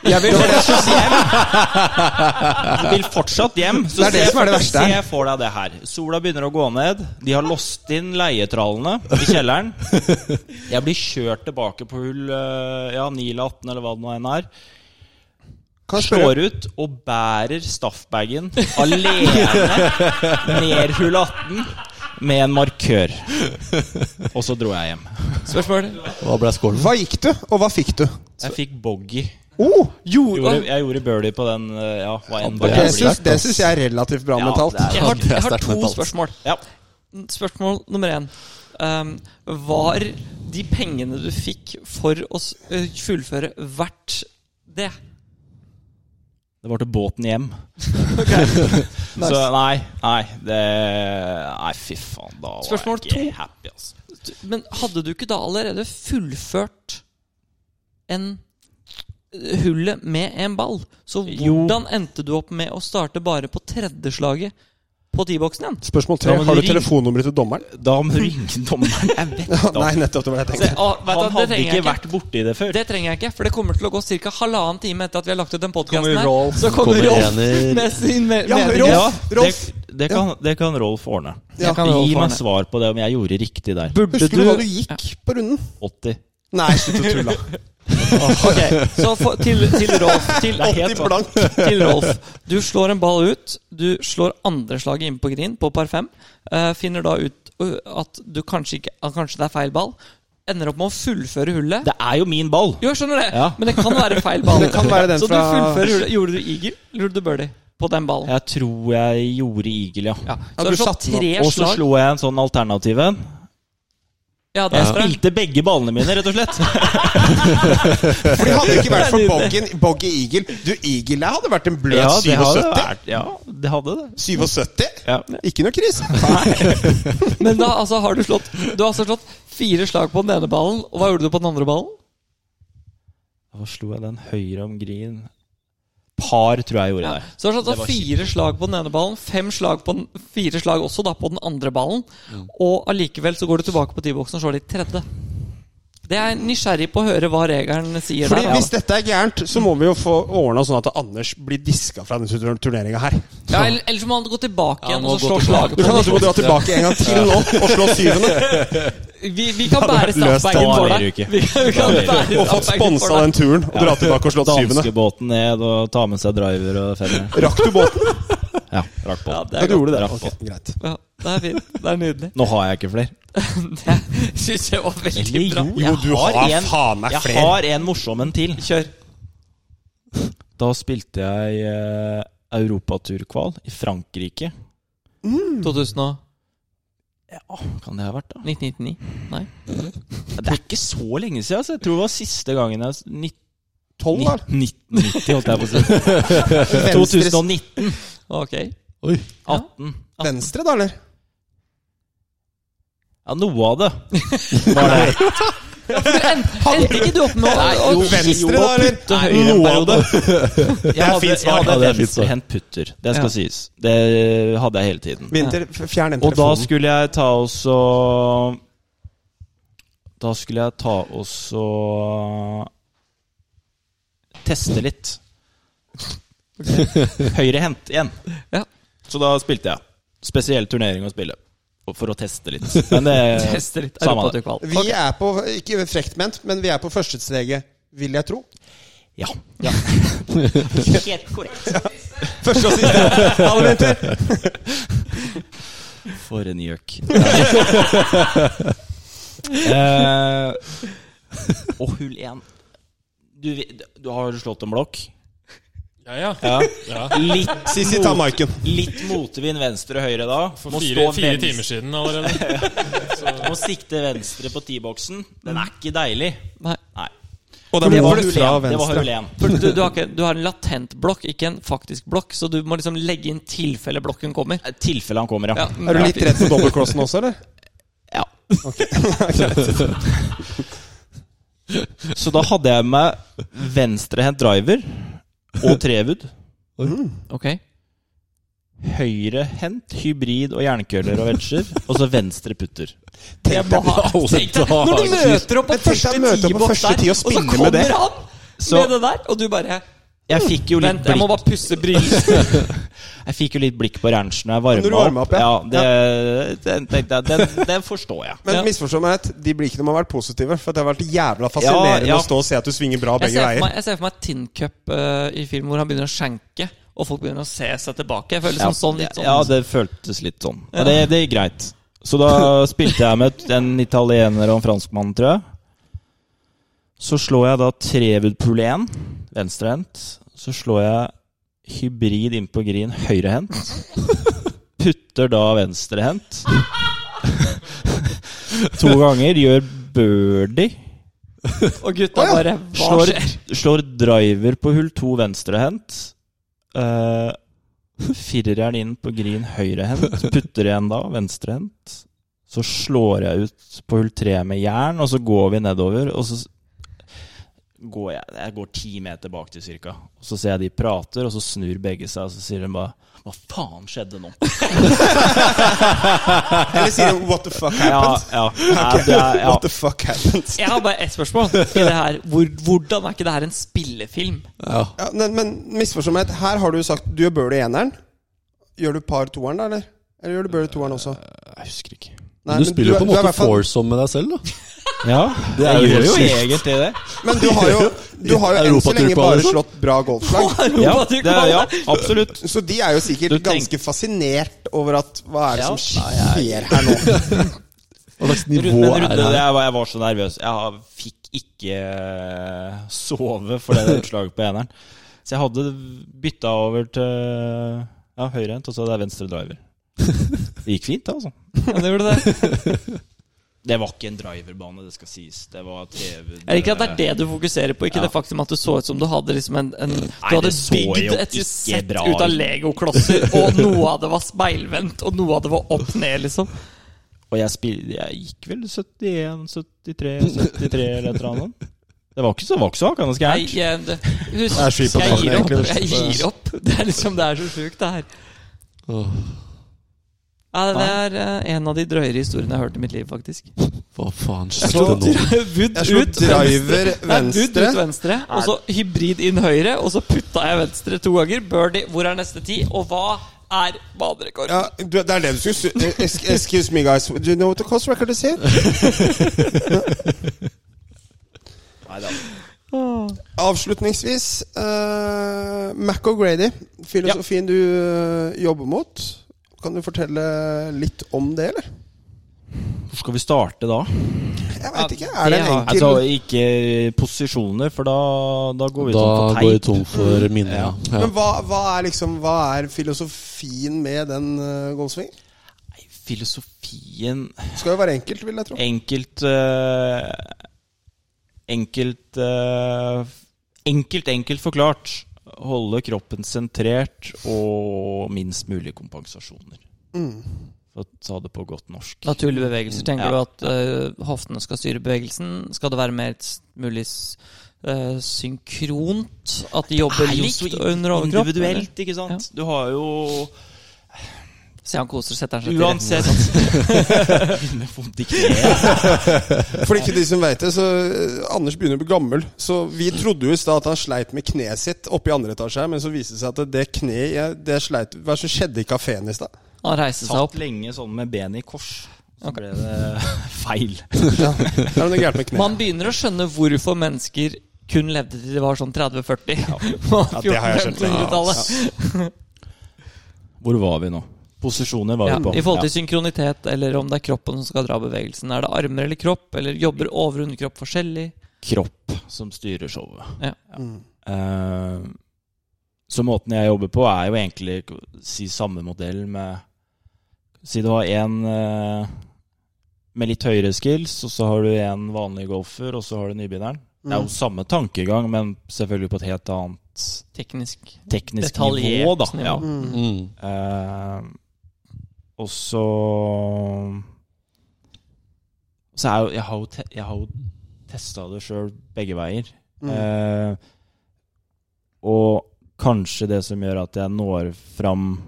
S1: jeg vil, det var det jeg skulle si.
S3: Du vil fortsatt hjem, så
S1: Det er det
S3: se-
S1: som er det verste her.
S3: se for deg det her. Sola begynner å gå ned, de har låst inn leietrallene i kjelleren. Jeg blir kjørt tilbake på hull eh, ja, 9 eller 18 eller hva det nå enn er.
S1: Kan jeg spørre-
S3: Slår ut og bærer staffbagen
S1: (laughs)
S3: alene ned hull 18 med en markør. Og så dro jeg hjem.
S4: Spørsmål?
S2: Hva ble skålen?
S1: Hva gikk du, og hva fikk du?
S3: Jeg fikk boggy.
S1: Oh,
S3: Gjorde, jeg gjorde birdie på den. eh, Ja, hva enn
S1: det
S3: det blir.
S1: syns det syns jeg er relativt bra
S3: Ja,
S1: mentalt.
S3: det er-
S4: Jeg har,
S2: Det er
S4: jeg har
S2: sterkt
S4: to
S2: mentalt.
S4: spørsmål.
S3: Ja.
S4: Spørsmål nummer én. Ehm, var de pengene du fikk for å s- øh, fullføre, verdt det?
S3: Det var til båten hjem.
S1: (laughs)
S3: (laughs) Så nei, nei, det Nei, fy faen, da var
S4: Spørsmål
S3: jeg ikke
S4: to.
S3: happy, altså.
S4: Men hadde du ikke da allerede fullført en hullet med en ball? Så
S3: Jo.
S4: hvordan endte du opp med å starte bare på tredjeslaget på T-boksen igjen?
S1: Spørsmål
S3: Ja,
S1: tre.
S3: men
S1: Har du
S3: ring-
S1: telefonnummeret til dommeren?
S3: Da må du ringe dommeren. Jeg vet
S1: Ja, nei, nettopp. Det var det jeg tenkte.
S4: Se, å, vet du hva,
S3: Han
S4: det
S3: hadde
S4: trenger jeg
S3: ikke vært borti det før.
S4: Det trenger jeg ikke, for det kommer til å gå ca. halvannen time etter at vi har lagt ut den podkasten
S7: Kommer
S4: her.
S7: Rolf.
S4: Så kommer
S2: Kommer
S4: Rolf
S2: ener.
S4: med sin me
S1: Ja,
S4: mening.
S1: Rolf!
S3: Ja, det,
S1: Rolf.
S3: det, kan, det kan Rolf ordne.
S1: Ja.
S4: kan Rolf
S3: Gi meg
S4: ordne.
S3: svar på det om jeg gjorde riktig der.
S4: Burde
S1: Husker du hva du gikk på runden?
S3: 80.
S1: Nei, slutt å tulle.
S4: Ok, så for, til, til Rolf. Til,
S3: Det er helt
S1: 80 blank.
S4: til Rolf. Du slår en ball ut. Du slår andreslaget inn på green på par fem. eh, finner da ut ø, at du kanskje ikke at Kanskje det er feil ball. Ender opp med å fullføre hullet.
S3: Det er jo min ball!
S4: Jo, jeg skjønner det,
S3: Ja.
S4: men det kan være feil
S1: (laughs)
S4: ball.
S1: Det kan være den
S4: så du
S1: fra-
S4: fullfører hullet. Gjorde du eagle? Gjorde du birdie på den ballen?
S3: Jeg tror jeg gjorde eagle, ja.
S1: Ja,
S4: Ja. Så har
S1: du
S4: du slått
S1: satte den opp,
S4: tre
S3: Og så
S4: slag.
S3: slo jeg en sånn alternativ en.
S4: Ja, det
S3: Jeg
S4: er
S3: spilte begge ballene mine, rett og slett.
S1: For det hadde ikke vært for Boggy, Boggy Eagle. Du, Eagle jeg hadde vært en bløt
S3: Ja, det hadde
S1: 77.
S3: vært Ja, det hadde det.
S1: 77?
S3: Ja.
S1: Ikke noe krise.
S4: (laughs) Men da altså, har du slått Du har altså slått fire slag på den ene ballen, og hva gjorde du på den andre ballen?
S3: Hva slo jeg den høyre om green? Par, tror jeg gjorde der.
S4: Så du har slått
S3: Det var
S4: da fire slag på den ene ballen, fem slag på den, fire slag også da på den andre ballen, og allikevel så går du tilbake på T-boksen og slår litt tredje. Det er jeg nysgjerrig på å høre hva regelen sier
S1: Fordi
S4: der.
S1: Hvis dette er gærent, så må vi jo få ordna sånn at Anders blir diska fra denne turneringa her.
S4: Ja, eller- Ellers må han gå tilbake
S2: Ja,
S4: igjen
S2: må
S4: og
S2: gå
S4: så slå
S2: tilbake.
S4: slaget
S1: Du
S4: på
S1: kan altså
S4: den.
S1: må dra tilbake en gang til nå og slå syvende.
S4: Vi, vi kan bære
S1: vært løst.
S4: staffbagen
S3: Da
S4: for
S3: blir
S4: deg.
S3: det ikke.
S4: (laughs) Vi kan, vi kan
S3: Da blir det
S4: bære
S1: Og fått
S4: staffbagen
S1: sponsa
S4: for
S1: den
S4: deg.
S1: turen og dra tilbake og slå syvende.
S3: Danskebåten ned og ta med seg driver og femmer.
S1: Rakk du båten?
S3: Ja, rakk på.
S4: Ja, det
S1: Ja, du
S4: er godt.
S1: gjorde det.
S3: Rakk
S1: Ok, greit.
S4: Ja, det er fint. Det er nydelig.
S3: (laughs) Nå har jeg ikke flere.
S4: Det syns jeg var veldig bra.
S1: Jo, du har
S3: en-
S1: faen meg
S3: Jeg
S1: flere.
S3: har en morsom en til.
S4: Kjør.
S3: (laughs) Da spilte jeg eh, europaturkval i Frankrike.
S4: (laughs) 2000
S3: Kan det ha vært, da?
S4: 1999? Nei.
S3: Det er ikke så lenge siden. Altså. Jeg tror det var siste gangen jeg s- nitt-
S1: Tolv, da.
S3: 1990, holdt jeg på å si.
S1: Venstre,
S3: 2019.
S4: Ok.
S2: Oi.
S3: 18.
S1: venstre, da, eller?
S3: Ja, noe av det var det.
S4: Endte ikke du opp med å å-
S1: Venstre, da, eller?
S3: putte høyre en
S1: Noe av det.
S3: Jeg hadde,
S2: fint
S3: jeg
S2: svar.
S3: hadde
S2: Ja, det er fint
S3: venstre
S2: svar.
S3: hendt putter. Det skal
S4: Ja.
S3: sies. Det hadde jeg hele tiden.
S1: Vinter, f- fjern den
S3: Og da
S1: telefonen.
S3: skulle jeg ta også Da skulle jeg ta også Teste litt. Høyrehendt igjen.
S4: Ja.
S3: Så da spilte jeg. Spesiell turnering å spille. Og For å teste litt. Men det
S4: Teste litt
S3: Samme det.
S4: europaturkval.
S1: Vi er på, ikke frekt ment, men vi er på førstesteget, vil jeg tro.
S3: Ja.
S4: Helt korrekt.
S1: Første og siste. Ha det, Vinter.
S3: For en
S1: (laughs)
S3: gjøk. Eh, og hull én. Du, du har slått en blokk?
S5: Ja, ja.
S3: Ja.
S5: ja.
S3: Litt
S1: Sissi, ta mikken.
S3: Litt motvind venstre og høyre da.
S5: For
S3: Må
S5: fire,
S3: stå
S5: fire
S3: venstre-
S5: timer siden
S3: (laughs)
S5: allerede.
S3: Må sikte venstre på T-boksen. Den er ikke deilig.
S4: Nei.
S3: Nei.
S1: Og det
S3: Det
S1: må
S3: var
S1: du
S3: hull
S1: fra
S3: én. Det var
S1: venstre.
S3: hull én.
S4: For du, du, har ikke, du har en latent blokk, ikke en faktisk blokk, så du må liksom legge inn tilfelle blokken kommer.
S3: Eh, Tilfelle han kommer, ja.
S1: Er du litt redd for dobbeltcrossen også, eller?
S4: Ja.
S3: Så da hadde jeg med venstrehendt driver og trewood.
S4: Ok.
S3: Høyrehendt hybrid og jernkøller og vetsjer. Og så venstre putter.
S4: Jeg må ha Tenk deg, når du møter opp på
S1: Men tenk
S4: første
S1: deg møte opp på
S4: tiboks
S1: første
S4: der,
S1: ti og
S4: og så
S1: spinne med
S4: kommer
S1: det.
S4: han
S3: Så-
S4: med det der, og du bare
S3: Jeg fikk jo litt
S4: Vent, jeg må
S3: blikk,
S4: bare pusse brillene.
S3: jeg fikk jo litt blikk på ranchen da jeg varma
S1: Når du varmer opp, ja.
S3: det, den, tenkte jeg, den, den forstår jeg.
S1: (laughs) Men
S4: Ja.
S1: misforstå meg rett, de blikkene må ha vært positive. For det har vært jævla fascinerende
S3: Ja, ja.
S1: å stå og se at du svinger bra
S4: Jeg
S1: (laughs) begge
S4: ser for
S1: veier.
S4: meg, jeg ser for meg Tin Cup eh, i film hvor han begynner å skjenke, og folk begynner å se seg tilbake. Jeg føler liksom sånn litt sånn
S3: ja, det føltes litt sånn. Men det, det gikk greit. Så da spilte jeg med en italiener og en franskmann, tror jeg. Så slår jeg da Trevood pool 1, venstrehendt. Så slår jeg hybrid inn på green, høyrehendt. Putter da venstrehendt. (laughs) to ganger, gjør birdie.
S4: Og gutta bare Hva
S3: Slår,
S4: skjer?
S3: slår driver på hull to venstrehendt. (laughs) Uh, Fireren inn på green høyrehendt. Putter igjen da, venstrehendt. Så slår jeg ut på hull tre med jern, og så går vi nedover. Og så s- går jeg, jeg går ti meter bak til cirka. Og så ser jeg de prater, og så snur begge seg, og så sier de bare Hva faen skjedde nå?
S1: Eller sier de 'what the fuck
S3: Ja,
S1: happened'?
S3: ja, ja, det er,
S1: (laughs)
S3: ja.
S1: What the fuck
S3: (laughs)
S1: happened?
S4: Jeg har bare ett spørsmål. I det her. Hvor, hvordan er ikke det her en spillefilm? (laughs)
S2: Ja.
S1: Ja, men men misforstå meg rett, her har du sagt du gjør birdie i eneren. Gjør du par toeren, da, eller? Eller gjør du birdie toeren også?
S3: Eh, Jeg husker ikke.
S1: Nei,
S2: du
S1: men
S2: spiller
S1: er-
S2: jo på en
S1: du er i
S2: måte
S1: hvert fall-
S2: foursome med deg selv, da.
S3: Ja,
S2: Det er
S3: jeg
S2: jo
S3: gjør jo
S2: helt sjukt.
S3: egentlig det.
S1: Men du har jo, du har jo enn så lenge
S2: Europaturkvalen,
S1: bare
S2: liksom.
S1: slått bra
S3: (laughs)
S1: golfslag.
S3: Ja,
S4: Europa, du
S3: det er, ja
S4: kaller det.
S3: absolutt.
S1: Så de er jo sikkert
S3: Du tenk-
S1: ganske fascinert over at Hva er det
S3: Ja.
S1: som skjer her nå?
S2: Hva slags
S3: Rundt,
S2: nivå
S3: men
S2: er
S3: rundt,
S2: det
S3: det,
S2: her?
S3: jeg, var, jeg var så nervøs. Jeg har- fikk ikke eh, sove for det utslaget på eneren. Så jeg hadde bytta over til ja, høyrehendt, og så hadde jeg venstre driver. Det gikk fint, det, altså.
S4: Ja, det gjorde det.
S3: Det var ikke en driverbane, det skal sies. Det var TV
S4: Jeg liker at det er det du fokuserer på, ikke det faktum at du så ut som du hadde liksom en, en Du hadde
S3: det så
S4: bygd
S3: jo
S4: et
S3: ikke
S4: sett
S3: bra
S4: ut av
S3: ut. (laughs)
S4: legoklosser, og noe av det var speilvendt, og noe av det var opp ned, liksom.
S3: Og jeg, spil, jeg gikk vel 71, 73, 73 eller et eller annet. Det var ikke så, var ikke så hakkende
S4: Nei,
S3: gærent.
S4: jeg, det,
S2: er
S4: husk,
S2: skip på
S4: jeg
S2: taket,
S4: gir opp.
S2: egentlig,
S4: Jeg
S2: det-
S4: gir opp. (laughs) Det er liksom Det er så sjukt, det her.
S2: Åh,
S4: Ja, det er eh, en av de drøyere historiene jeg har hørt i mitt liv, faktisk.
S2: Hva faen
S1: Så
S2: skjedde nå?
S4: Wood
S1: Jeg slo
S4: ut
S1: driver
S4: venstre. Nei, Wood ut
S1: venstre.
S4: venstre, og så hybrid inn høyre, og så putta jeg venstre to ganger. Birdie, hvor er neste ti? Og hva er banerekord?
S1: Ja, du, det er det du skulle si. Eh, ex- Excuse me, guys. Do you know what the cost record is here?
S3: Neida.
S1: Avslutningsvis, uh, Mac O'Grady, filosofien du eh, jobber mot. Kan du fortelle litt om det, eller?
S3: Hvor skal vi starte da?
S1: Jeg veit ikke. Er det en
S4: har-
S1: enkel
S3: Altså ikke posisjoner, for da, da går vi
S2: Da
S3: sånn for
S2: går vi
S3: teit.
S2: tom for minner. Ja.
S3: Ja.
S2: Ja.
S1: Men hva, hva er liksom Hva er filosofien med den uh, golfsvingen?
S3: Nei, Filosofien
S1: Skal jo være enkelt, vil jeg tro.
S3: Enkelt eh, Enkelt eh, Enkelt, enkelt forklart. Holde kroppen sentrert og minst mulig kompensasjoner. For å ta det på godt norsk.
S4: Naturlige bevegelser. Tenker du
S3: Ja.
S4: at eh, hoftene skal styre bevegelsen? Skal det være mer s- mulig s- eh, synkront? At de jobber
S3: er jo
S4: likt
S3: så
S4: under overkropp?
S3: Individuelt, ikke sant? Du har jo
S4: eller? Se, han koser seg. Setter han seg til rette.
S3: Uansett
S4: sånn.
S3: (laughs) Begynner vondt i kneet.
S1: For ikke de som vet det, så eh, Anders begynner å bli gammel. Så vi trodde jo i stad at han sleit med kneet sitt oppe i andre etasje her, men så viste det seg at det kneet jeg- det sleit Hva er det som skjedde i kafeen i stad?
S4: liksom. Han reiser seg opp.
S3: Satt lenge sånn med benet i kors. Så ble det (laughs) feil.
S1: Det er noe gærent med
S4: Man
S1: kneet.
S4: begynner å skjønne hvorfor mennesker kun levde til de var sånn 30-40. (laughs)
S1: Ja, det har jeg skjønt lenge.
S4: 1400-tallet.
S3: Hvor var vi nå? Posisjoner var
S4: Ja,
S3: vi på.
S4: I forhold til synkronitet, eller om det er kroppen som skal dra bevegelsen. Er det armer eller kropp, eller jobber over og underkropp forskjellig?
S3: kropp som styrer showet.
S4: Ja.
S1: Mm.
S3: Eh, så måten jeg jobber på, er jo egentlig k- si samme modell med Si du har en eh, med litt høyere skills, og så har du en vanlig golfer, og så har du nybegynneren. Det er jo samme tankegang, men selvfølgelig på et helt annet
S4: Teknisk.
S3: teknisk
S4: Detaljert
S3: nivå, da.
S4: nivå.
S3: Ja.
S1: Mm.
S2: Mm.
S3: Eh, og så Så er jo Jeg har jo, te, jeg har jo testa det sjøl begge veier. Eh, og kanskje det som gjør at jeg når fram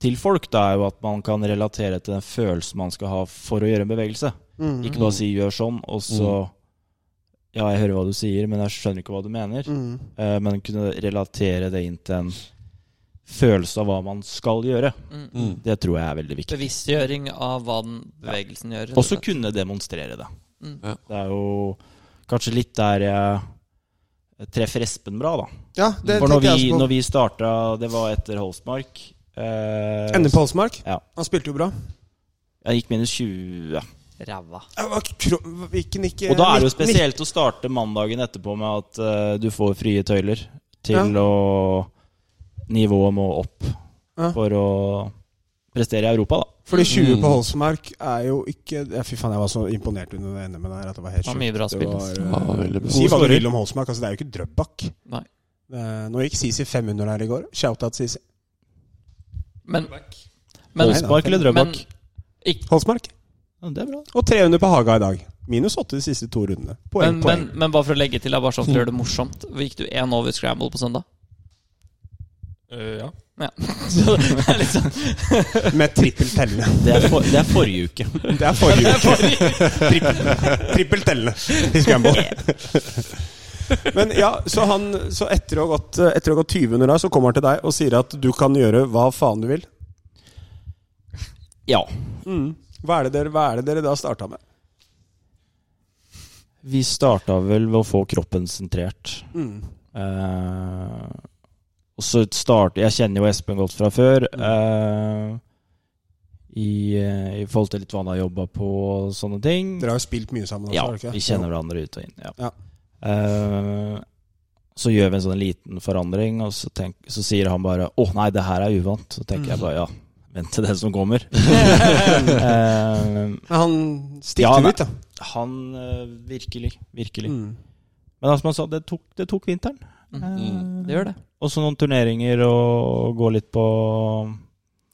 S3: til folk, da er jo at man kan relatere til den følelsen man skal ha for å gjøre en bevegelse.
S1: Mm.
S3: Ikke bare si 'gjør sånn', og så Ja, jeg hører hva du sier, men jeg skjønner ikke hva du mener.
S1: Mm.
S3: Eh, men kunne relatere det inn til en følelse av hva man skal gjøre.
S4: Mm.
S2: Mm.
S3: Det tror jeg er veldig viktig.
S4: Bevisstgjøring av hva den bevegelsen gjør. rett og
S3: Også
S4: slett.
S3: kunne demonstrere det.
S4: Mm.
S2: Ja.
S3: Det er jo kanskje litt der jeg treffer Espen bra, da.
S1: Ja, det
S3: For når
S1: tenkte jeg
S3: vi,
S1: også
S3: når
S1: på.
S3: vi starta, det var etter Holsmark eh,
S1: Ender på Holsmark.
S3: Ja.
S1: Han spilte jo bra.
S3: Jeg gikk minus 20.
S4: Ræva.
S1: Ja, hva- kro- Hvilken ikke
S3: Og da er det jo
S1: nitt- nitt-
S3: spesielt å starte mandagen etterpå med at eh, du får frie tøyler til
S1: Ja.
S3: å Nivået må opp
S1: Ja.
S3: for å prestere i Europa, da.
S1: Fordi 20 på
S2: Mm.
S1: Holsmark er jo ikke ja, Fy faen, jeg var så imponert under det NM-en her at det var helt
S4: Det var
S1: sjukt.
S4: mye bra
S1: Det
S4: spill,
S1: var,
S4: ass.
S1: eh,
S2: Ja, veldig bra.
S1: Si hva du vil om Holsmark, altså det er jo ikke Drøbak.
S4: Nei.
S1: Eh, nå gikk Sisi 500 her i går. Shout-out Sisi.
S4: Men, men,
S3: Holsmark eller Drøbak?
S1: Holsmark.
S3: Ja, det er bra.
S1: Og 300 på Haga i dag. Minus 8 de siste to rundene. Poeng,
S4: men, men,
S1: poeng.
S4: men bare for å legge til, da, bare sånn for å gjøre det morsomt, gikk du én over scramble på søndag? (laughs)
S5: Eh, ja.
S4: Så det er litt sånn
S1: Med trippel tellende.
S3: Det er, for, det er forrige uke.
S1: Det er forrige uke. Trippel, trippel tellende i
S4: (laughs)
S1: scramble. Men ja, så han Så etter å ha gått, etter å ha gått 20 under deg, så kommer han til deg og sier at du kan gjøre hva faen du vil. Mm.
S3: Ja.
S1: Hva er det dere, hva er det dere da starta med?
S3: (laughs) Vi starta vel ved å få kroppen sentrert.
S1: Mm.
S3: Eh, og så start, Jeg kjenner jo Espen godt fra før. eh, i, eh, I forhold til litt hva han har jobba på og sånne ting.
S1: Dere har jo spilt mye sammen. Også,
S3: Ja,
S1: har dere ikke?
S3: vi
S1: (laughs)
S3: kjenner hverandre ut og inn. Ja.
S1: Ja.
S3: Eh, så gjør vi en sånn liten forandring, og så, tenk, så sier han bare 'Å nei, det her er uvant'. Så tenker jeg bare ja, vent til det som (laughs) kommer. Eh,
S1: Men Han
S3: Ja,
S1: stikker
S3: nei.
S1: ut, da.
S3: han eh, virkelig, virkelig.
S1: Mm.
S3: Men altså, som han sa, det tok, det tok vinteren.
S4: Mm.
S3: Mm.
S4: Det gjør det.
S3: Og så noen turneringer og gå litt på,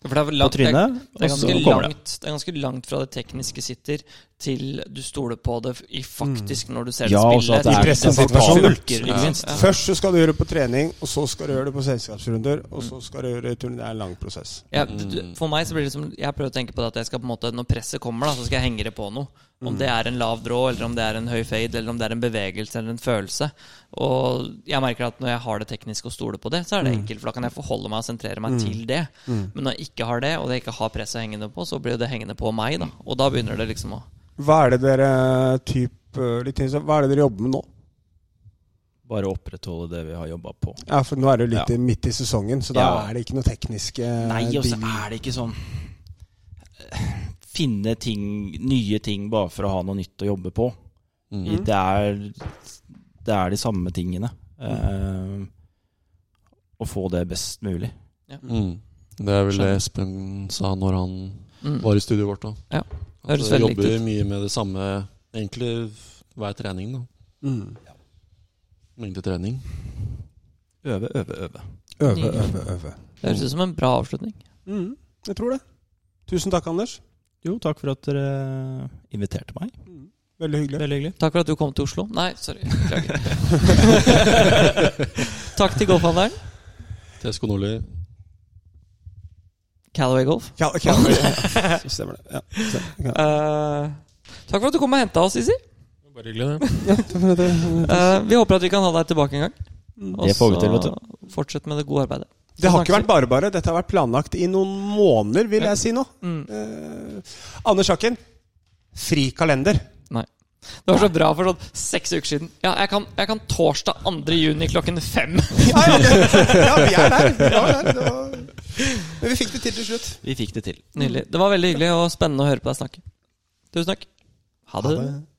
S4: For det er, vel
S3: på
S4: langt, det, er,
S3: trynet.
S4: det, er
S3: og så
S4: ganske
S3: kommer det.
S4: langt, det er ganske langt fra det tekniske sitter til du stoler på det i faktisk når du ser det
S3: Ja, og
S4: spille.
S3: så at det er-
S1: I presset
S3: det er
S1: situasjon.
S3: fullt,
S4: Ikke
S3: ikke minst.
S4: Ja.
S1: Først så skal du gjøre det på trening, og så skal du gjøre det på selskapsrunder, og så skal du gjøre det i turné. Det er en lang prosess.
S4: Ja, du, du- for meg så blir det som Jeg prøver å tenke på det at jeg skal på en måte når presset kommer, da, så skal jeg henge det på noe. Om det er en lav drå, eller om det er en høy fade, eller om det er en bevegelse eller en følelse. Og jeg merker at når jeg har det teknisk og stoler på det, så er det enkelt, for da kan jeg forholde meg og sentrere meg til det. Men når jeg ikke har det, og jeg ikke har presset hengende på, så blir det hengende på meg, da. Og da begynner det liksom å
S1: Hva er det dere typ, eh, litt innså- Hva er det dere jobber med nå?
S3: Bare opprettholde det vi har jobba på.
S1: Ja, for nå er det jo litt
S3: Ja.
S1: i- midt i sesongen, så da
S3: Ja.
S1: er det ikke noe tekniske
S3: Nei, og så
S1: bild.
S3: er det ikke sånn eh, Finne ting, nye ting bare for å ha noe nytt å jobbe på.
S2: Mm.
S3: Det, er, det er de samme tingene. Eh, å få det best mulig.
S2: Mm. Det er vel det Espen sa når han
S4: Mm.
S2: var i studioet vårt òg.
S4: Ja.
S2: At
S4: Høres
S2: vi
S4: veldig
S2: jobber
S4: riktig ut.
S2: mye med det samme egentlig hver trening. da
S1: Mm. (laughs)
S2: Mengdetrening.
S3: Øve, øve, øve.
S1: Øve, øve, øve.
S4: Det høres ut som en bra avslutning.
S1: Mm. Jeg tror det. Tusen takk, Anders.
S3: Jo, takk for at dere inviterte meg.
S1: Mm. Veldig hyggelig.
S3: Veldig hyggelig.
S4: Takk for at du kom til Oslo. Nei,
S2: (laughs)
S4: sorry. Beklager. Takk til golfhandleren.
S2: TSK Nordli.
S4: Callaway Golf.
S1: Ja, ok, ja. Stemmer det. Ja, stemmer. Ja.
S4: Eh, takk for at du kom og henta oss, Sisi.
S5: Bare hyggelig, det.
S4: Eh, vi håper at vi kan ha deg tilbake en gang. Og
S3: Det får vi til, vet
S4: så Fortsett med det gode arbeidet.
S1: Det har ikke
S4: Snakkes
S1: vært bare bare. Dette har vært planlagt i noen måneder, vil jeg si nå.
S4: Mm.
S1: Eh, Anders Hakken, fri kalender.
S4: vi. Det var så bra for sånn seks uker siden. Ja, jeg kan, jeg kan torsdag 2. juni klokken fem.
S1: Ja, ja, det- ja vi er der. Vi var der. Det var... Men vi fikk det til til slutt.
S3: Vi fikk det til.
S4: Nydelig. Det var veldig hyggelig og spennende å høre på deg snakke. Tusen takk. Ha det.
S1: Ha det.